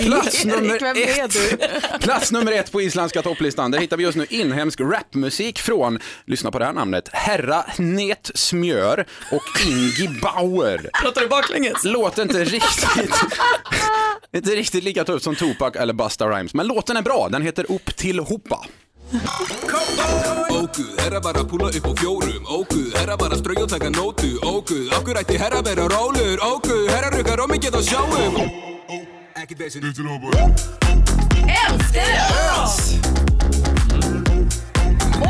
Plats nummer Vem är du? Plats nummer ett på isländska topplistan. Där hittar vi just nu inhemsk rapmusik från, lyssna på det här namnet, Herra Net Smjör och Ingi Bauer. Pratar du baklänges? Låter inte riktigt, inte riktigt lika tuff som Tupac eller Busta Rhymes, men låten är bra. Den heter Upp till hoppa. Ó guð, herra var að púla upp á fjórum Ó guð, herra var að ströja og taka nótu Ó guð, okkur ætti herra vera rólur Ó guð, herra rukkar og mikið á sjáum Ekki þessi Lítið nógu Älskar det!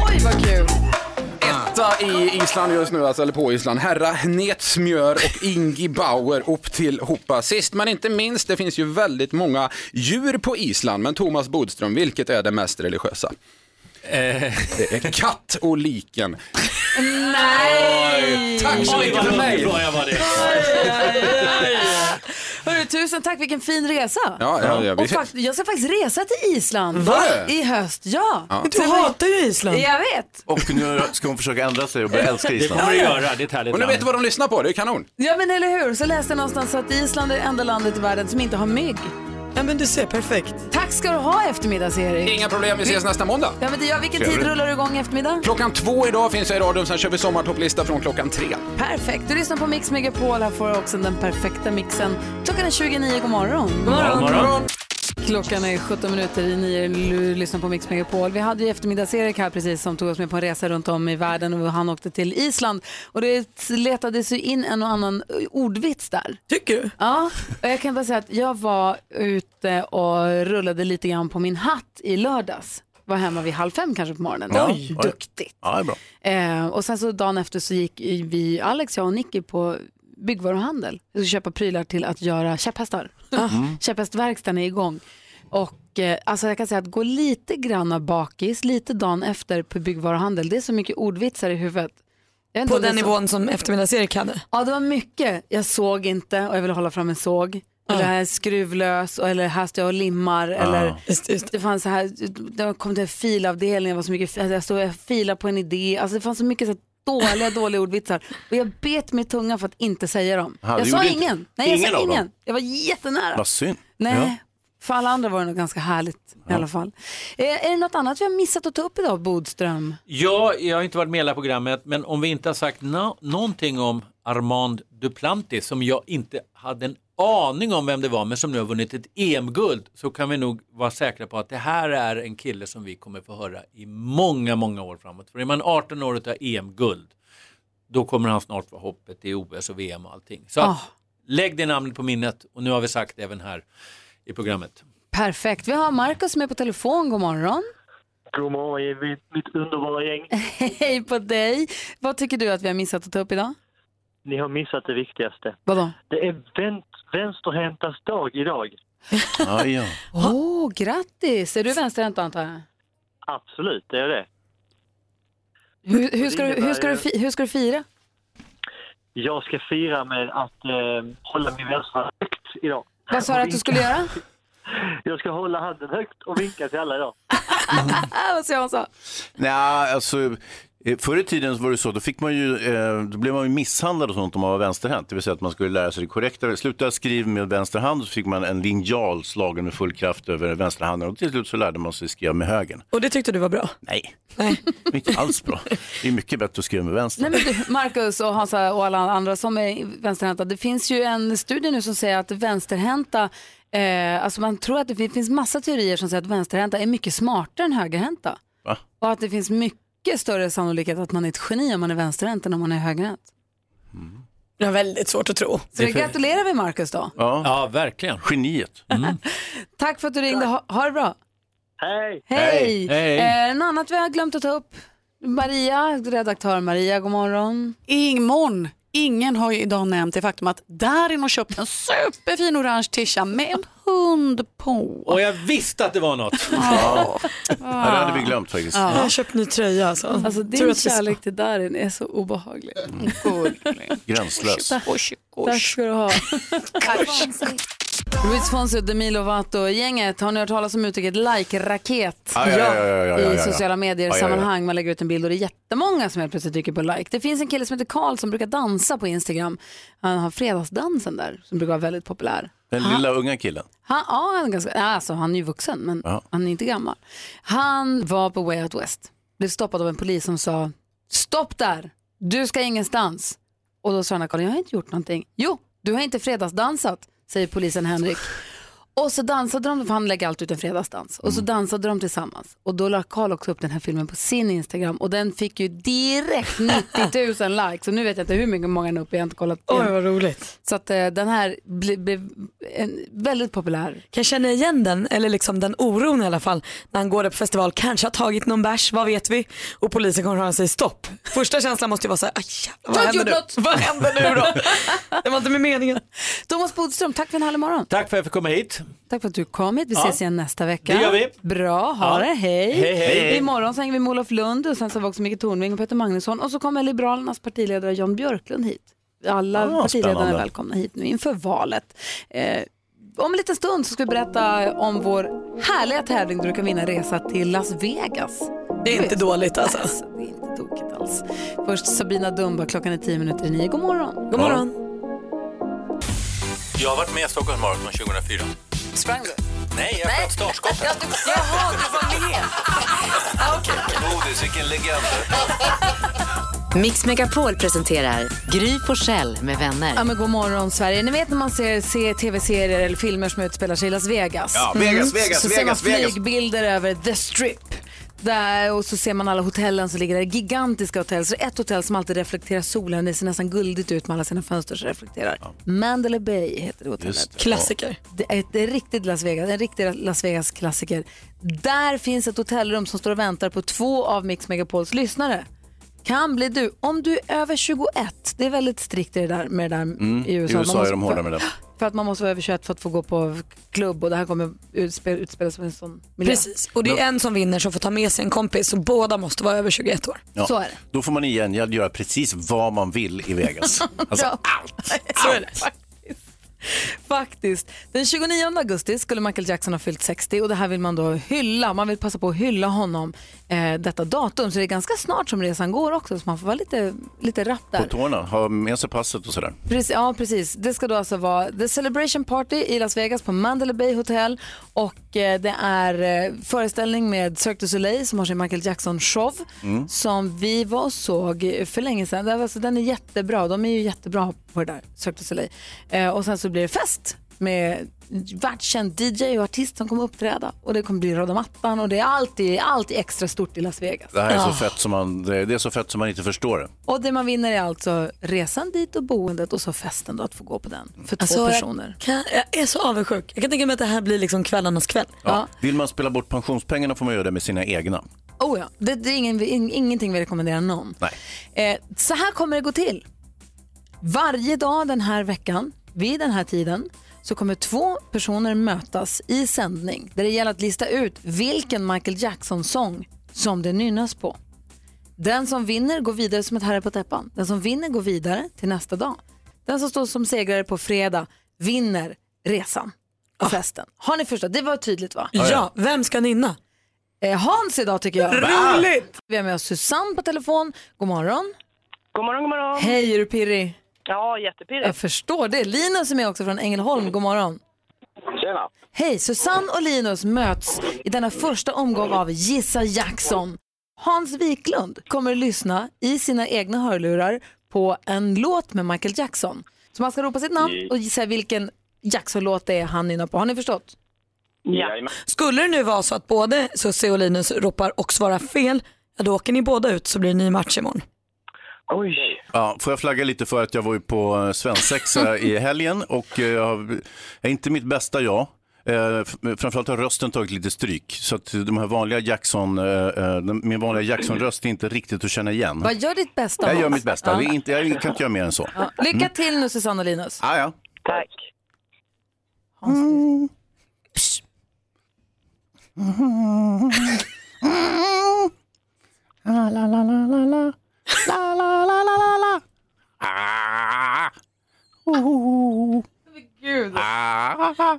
Oj, vad kul! Etta i Island just nu, alltså, eller på Island. Herra Hnet Smjör och Ingi Bauer upp till hoppa. Sist men inte minst, det finns ju väldigt många djur på Island. Men Thomas Bodström, vilket är det mest religiösa? Eh, Det är katt och liken. Nej! Tack så mycket för mig. Hörru, tusen tack, vilken fin resa. Ja, ja, ja, vi Och fakt- jag ska faktiskt resa till Island Va? i höst. Ja. Ja. Så Du jag- hatar ju Island. Jag vet. Och nu ska hon försöka ändra sig och börja älska Det Island. kommer du göra, det är ett härligt Och nu vet du vad de lyssnar på, det är kanon. Ja men eller hur, så läste jag någonstans att Island är det enda landet i världen som inte har mygg. Ja men du ser, perfekt. Tack ska du ha eftermiddags-Erik. Inga problem, vi ses nästa måndag. Ja men det gör, vilken tid Trevligt. rullar du igång i eftermiddag? Klockan två idag finns jag i radion, sen kör vi sommartopplista från klockan tre. Perfekt, du lyssnar på Mix Megapol, här får du också den perfekta mixen. Klockan är 29, god morgon. God morgon. God morgon. Klockan är 17 minuter i nio, du lyssnar på Mix Megapol. Vi hade ju eftermiddags-Erik här precis som tog oss med på en resa runt om i världen och han åkte till Island. Och det letades ju in en och annan ordvits där. Tycker du? Ja, och jag kan bara säga att jag var ute och rullade lite grann på min hatt i lördags. Var hemma vid halv fem kanske på morgonen. Oj. duktigt. Ja, det är bra. Eh, och sen så dagen efter så gick vi, Alex, jag och Nicky på byggvaruhandel. Vi skulle köpa prylar till att göra käpphästar. Ah. Mm. Käpphästverkstan är igång. Och eh, alltså jag kan säga att gå lite granna bakis, lite dagen efter på byggvaruhandel, det är så mycket ordvitsar i huvudet. Jag vet inte På om det är den så- nivån som eftermiddags-Erik hade. Ja, det var mycket. Jag såg inte och jag ville hålla fram en såg. Eller här är skruvlös och- eller här står jag och limmar. Eller, Det fanns så här, det kom till filavdelningen, det var så mycket, alltså jag stod och filade på en idé. Alltså det fanns så mycket så här dåliga, dåliga ordvitsar. Och jag bet mig i tungan för att inte säga dem. Aha, jag du sa gjorde inte- ingen. Nej, jag ingen sa av dem? ingen. Jag var jättenära. Vad synd. Nej, Ja. för alla andra var det nog ganska härligt i alla fall. Eh, är det något annat vi har missat att ta upp idag, Bodström? Ja, jag har inte varit med i hela programmet, men om vi inte har sagt nå- någonting om Armand Duplantis som jag inte hade en aning om vem det var, men som nu har vunnit ett EM-guld, så kan vi nog vara säkra på att det här är en kille som vi kommer få höra i många, många år framåt. För är man 18 år och tar EM-guld, då kommer han snart vara hoppet i OS och VM och allting. Så att, Ah. lägg det namnet på minnet och nu har vi sagt det även här i programmet. Perfekt. Vi har Markus som är på telefon. God morgon. God morgon, mitt, mitt underbara gäng. Hej på dig. Vad tycker du att vi har missat att ta upp idag? Ni har missat det viktigaste. Vadå? Det är vän, vänsterhäntas dag idag. Ja, ja. Åh, grattis. Är du vänsterhänt då, antar jag? Absolut, det är det. Hur, hur, ska, Det du, innebär hur, ska, du, ju- fi- hur ska du fira? Jag ska fira med att eh, hålla min vänstra högt idag. Vad sa du att du skulle göra? Jag ska hålla handen högt och vinka till alla idag. Vad sa jag? Nej, alltså, eh, förr i tiden så var det så, då, fick man ju, eh, då blev man ju misshandlad och sånt om man var vänsterhänt. Det vill säga att man skulle lära sig det korrekta. Sluta skriva med vänster hand så fick man en linjal slagen med full kraft över vänsterhanden och till slut så lärde man sig skriva med högern. Och det tyckte du var bra? Nej. Det är inte alls bra. Det är mycket bättre att skriva med vänster. Nej, men du, Marcus och Hansa och alla andra som är vänsterhänta. Det finns ju en studie nu som säger att vänsterhänta, eh, alltså man tror att det fin- finns massa teorier som säger att vänsterhänta är mycket smartare än högerhänta. Va? Och att det finns mycket större sannolikhet att man är ett geni om man är vänsterhänt än om man är högerhänt. Det är väldigt svårt att tro. Så det gratulerar vi Marcus då. Ja, verkligen. Mm. Geniet. Tack för att du ringde, ha, ha det bra. Hej! Hej! Hej. Eh, något annat vi har glömt att ta upp? Maria, redaktör Maria, god morgon. Imorgon. Ingen har ju idag nämnt det faktum att Darin har köpt en superfin orange tisha med en hund på. Och jag visste att det var något. Ja, det hade vi glömt faktiskt. Ja. Jag har köpt ny tröja alltså. Alltså Tur din att vi- kärlek till Darin är så obehaglig. Gränslös. Tack ska du ha. Luis Fonsi och Demi Lovato-gänget, har ni hört talas om uttrycket like-raket? Ja, ja, ja, ja, ja, ja, ja, I ja. sociala Ja, ja, medier-sammanhang. ja. Man lägger ut en bild och det är jättemånga som helt plötsligt trycker på like. Det finns en kille som heter Karl som brukar dansa på Instagram. Han har fredagsdansen där som brukar vara väldigt populär. Den Han- lilla unga killen. Han, ja, han, är ganska, alltså, han är ju vuxen men Ja. han är inte gammal. Han var på Way Out West. Blev stoppad av en polis som sa stopp där, du ska ingenstans. Och då sa han Karl, jag har inte gjort någonting. Jo, du har inte fredagsdansat, säger polisen Henrik. Och så dansade de, för han lägger alltid ut en fredagsdans. Och så dansade de tillsammans. Och då la Karl också upp den här filmen på sin Instagram. Och den fick ju direkt 90 000 likes. Och nu vet jag inte hur mycket många den är uppe i, jag har inte kollat. Oj, vad roligt. Så att eh, den här ble- blev en, väldigt populär. Kan jag känna igen den, eller liksom den oron i alla fall, när han går där på festival, kanske har tagit någon bärs, vad vet vi? Och polisen kommer och säger stopp. Första känslan måste ju vara såhär, aj jävlar, Du vad har händer gjort något. nu? Vad händer nu då? Det var inte med meningen. Thomas Bodström, tack för en härlig morgon. Tack för att jag fick komma hit. Tack för att du kom hit. Vi Ja. ses igen nästa vecka. Det gör vi. Bra, ha Ja. det. Hej. Hej, hej. Imorgon så hänger vi med Olof Lund och sen så har vi också Micke Tornving och Peter Magnusson och så kommer Liberalernas partiledare Jan Björklund hit. Alla Ah, partiledarna spännande. är välkomna hit nu inför valet. Eh, om en liten stund så ska vi berätta om vår härliga tävling där du kan vinna en resa till Las Vegas. Det är inte dåligt alltså. Det är inte tokigt alls. Först Sabina Dumba, klockan är tio minuter i nio. God morgon. God morgon. Jag har varit med i Stockholms Marathon 2004. Sprang du? Nej, jag sköt startskottet. Ja, du, jaha, du var med. Bodis, vilken legend. Mix Megapol presenterar Gry Forssell med vänner. Ja, men god morgon Sverige. Ni vet när man ser, ser tv-serier eller filmer som utspelar sig i Las Vegas. Ja, Vegas, Mm. Vegas, så Vegas, ser man Vegas. flygbilder över The Strip. Där, och så ser man alla hotellen som ligger där, gigantiska hotell. Så det är ett hotell som alltid reflekterar solen, det ser nästan guldigt ut med alla sina fönster som reflekterar. Mandalay Bay heter det hotellet. Just det. Klassiker. Det är ett- det är riktigt Las Vegas, en riktig Las Vegas-klassiker. Där finns ett hotellrum som står och väntar på två av Mix Megapols lyssnare. Kan bli du, om du är över 21, det är väldigt strikt i det där, med det där Mm. i USA. I Man USA måste- är de hårda med det. för att man måste vara över 21 för att få gå på klubb och det här kommer utspela, utspela sig i en sån miljö. Precis, och det är en som vinner som får ta med sig en kompis och båda måste vara över 21 år. Ja. Då får man i gengäld göra precis vad man vill i Vegas. Alltså, Bra. Så är det. Faktiskt. Faktiskt. Den 29 augusti skulle Michael Jackson ha fyllt 60 och det här vill man då hylla. Man vill passa på att hylla honom eh, detta datum. Så det är ganska snart som resan går också, så man får vara lite, lite rapp där. På tårna, ha med sig passet och sådär. Precis, ja, precis. Det ska då alltså vara The Celebration Party i Las Vegas på Mandalay Bay Hotel. Och eh, det är eh, föreställning med Cirque du Soleil som har sin Michael Jackson-show Mm. som vi var och såg för länge sedan. Det var- Alltså, den är jättebra. De är ju jättebra på det där, Cirque du Soleil. Eh, och sen så blir det fest med världskänd DJ och artist som kommer uppträda. Och det kommer bli röda mattan och det är alltid, alltid extra stort i Las Vegas. Det här är så Ah. fett som man, det det är så fett som man inte förstår det. Och det man vinner är alltså resan dit och boendet och så festen då att få gå på den för två Alltså, jag personer. Kan, jag är så avundsjuk. Jag kan tänka mig att det här blir liksom kvällarnas kväll. Ja. Vill man spela bort pensionspengarna får man göra det med sina egna. Oh ja, det, det är ingen, in, ingenting vi rekommenderar någon. Nej. Eh, så här kommer det gå till. Varje dag den här veckan, vid den här tiden, så kommer två personer mötas i sändning där det gäller att lista ut vilken Michael Jackson-sång som det nynnas på. Den som vinner går vidare som ett herre på täppan. Den som vinner går vidare till nästa dag. Den som står som segrare på fredag vinner resan och festen. Har ni förstått? Det var tydligt va? Ja, Ja. vem ska nynna? Eh, Hans idag tycker jag. Roligt! Vi har med oss Susanne på telefon. God morgon. God morgon, god morgon. Hej, är du pirrig? Ja, Jag jättepirrigt. förstår det. Linus är med också från Ängelholm. God morgon. Tjena. Hej, Susanne och Linus möts i denna första omgång av Gissa Jackson. Hans Wiklund kommer att lyssna i sina egna hörlurar på en låt med Michael Jackson. Så man ska ropa sitt namn och gissa vilken Jackson-låt det är han nynnar på. Har ni förstått? Ja. Skulle det nu vara så att både Susie och Linus ropar och svarar fel, ja, då åker ni båda ut så blir det ny match imorgon. Oj. Ja, får jag flagga lite för att jag var ju på eh, svensexa i helgen och eh, jag har- är inte mitt bästa jag. Eh, f- Framförallt har rösten tagit lite stryk så att de här vanliga Jackson, eh, eh, den- min vanliga Jackson-röst är inte riktigt att känna igen. Vad gör ditt bästa Mm. Jag gör Hans. mitt bästa, Ja. det är inte, jag kan inte göra mer än så. Mm. Ja. Lycka till nu Susanne och Linus. Ja, ja. Tack. Mm. Hans. La la la la la la la la la la la la Ah, Oh. Gud. ah.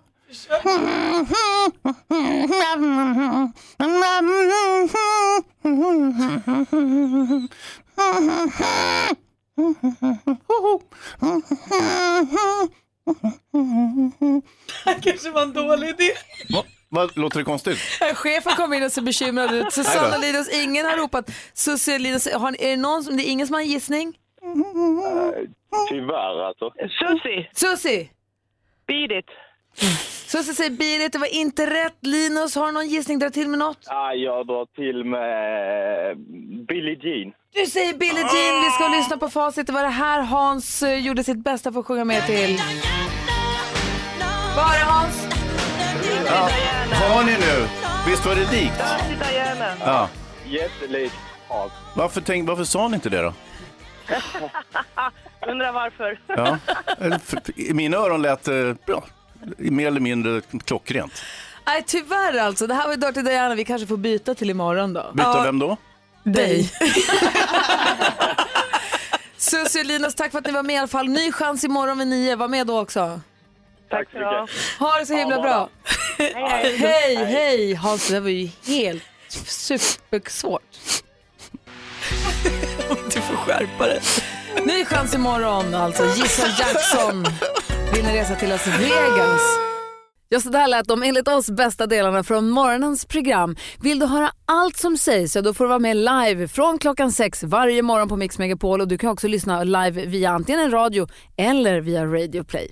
Det kanske var en dålig idé. Va? Vad, låter det konstigt? Chefen kom in och ser bekymrad ut. Susanne och Nej Linus, ingen har ropat. Susie och Linus, har, ni- är det någon som, det är ingen som har en gissning? Tyvärr alltså. Susie. Susie! Beat it. Susie säger Berit, det var inte rätt. Linus, har du någon gissning? Dra till med något. Ah, jag drar till med Billie Jean. Du säger Billie Jean, vi ska lyssna på facit. Det var det här Hans eh, gjorde sitt bästa för att sjunga med till. Var är Hans? Ja. Har ni nu? Visst var det dikt? Ja. Jättelikt Hans. Varför, tänk, varför sa ni inte det då? Undrar varför. Ja. Eller, för- för- I mina öron lät det bra. Mer eller mindre klockrent. Nej, tyvärr alltså. Det här var Dirty Diana. Vi kanske får byta till imorgon då. Byta Ja. vem då? dig. Susie och Linus, tack för att ni var med i alla fall. Ny chans imorgon vid nio. Var med då också. Tack så mycket. Ha det så himla bra. Hej, hej. hej. Hans, det där var ju helt supersvårt. du får skärpa dig. Ny chans imorgon alltså. Gissa Jackson vinner resa till Las Vegas. Ja, så där lät de enligt oss bästa delarna från morgonens program. Vill du höra allt som sägs, ja, då får du vara med live från klockan sex varje morgon på Mix Megapol. Och du kan också lyssna live via antingen en radio eller via Radio Play.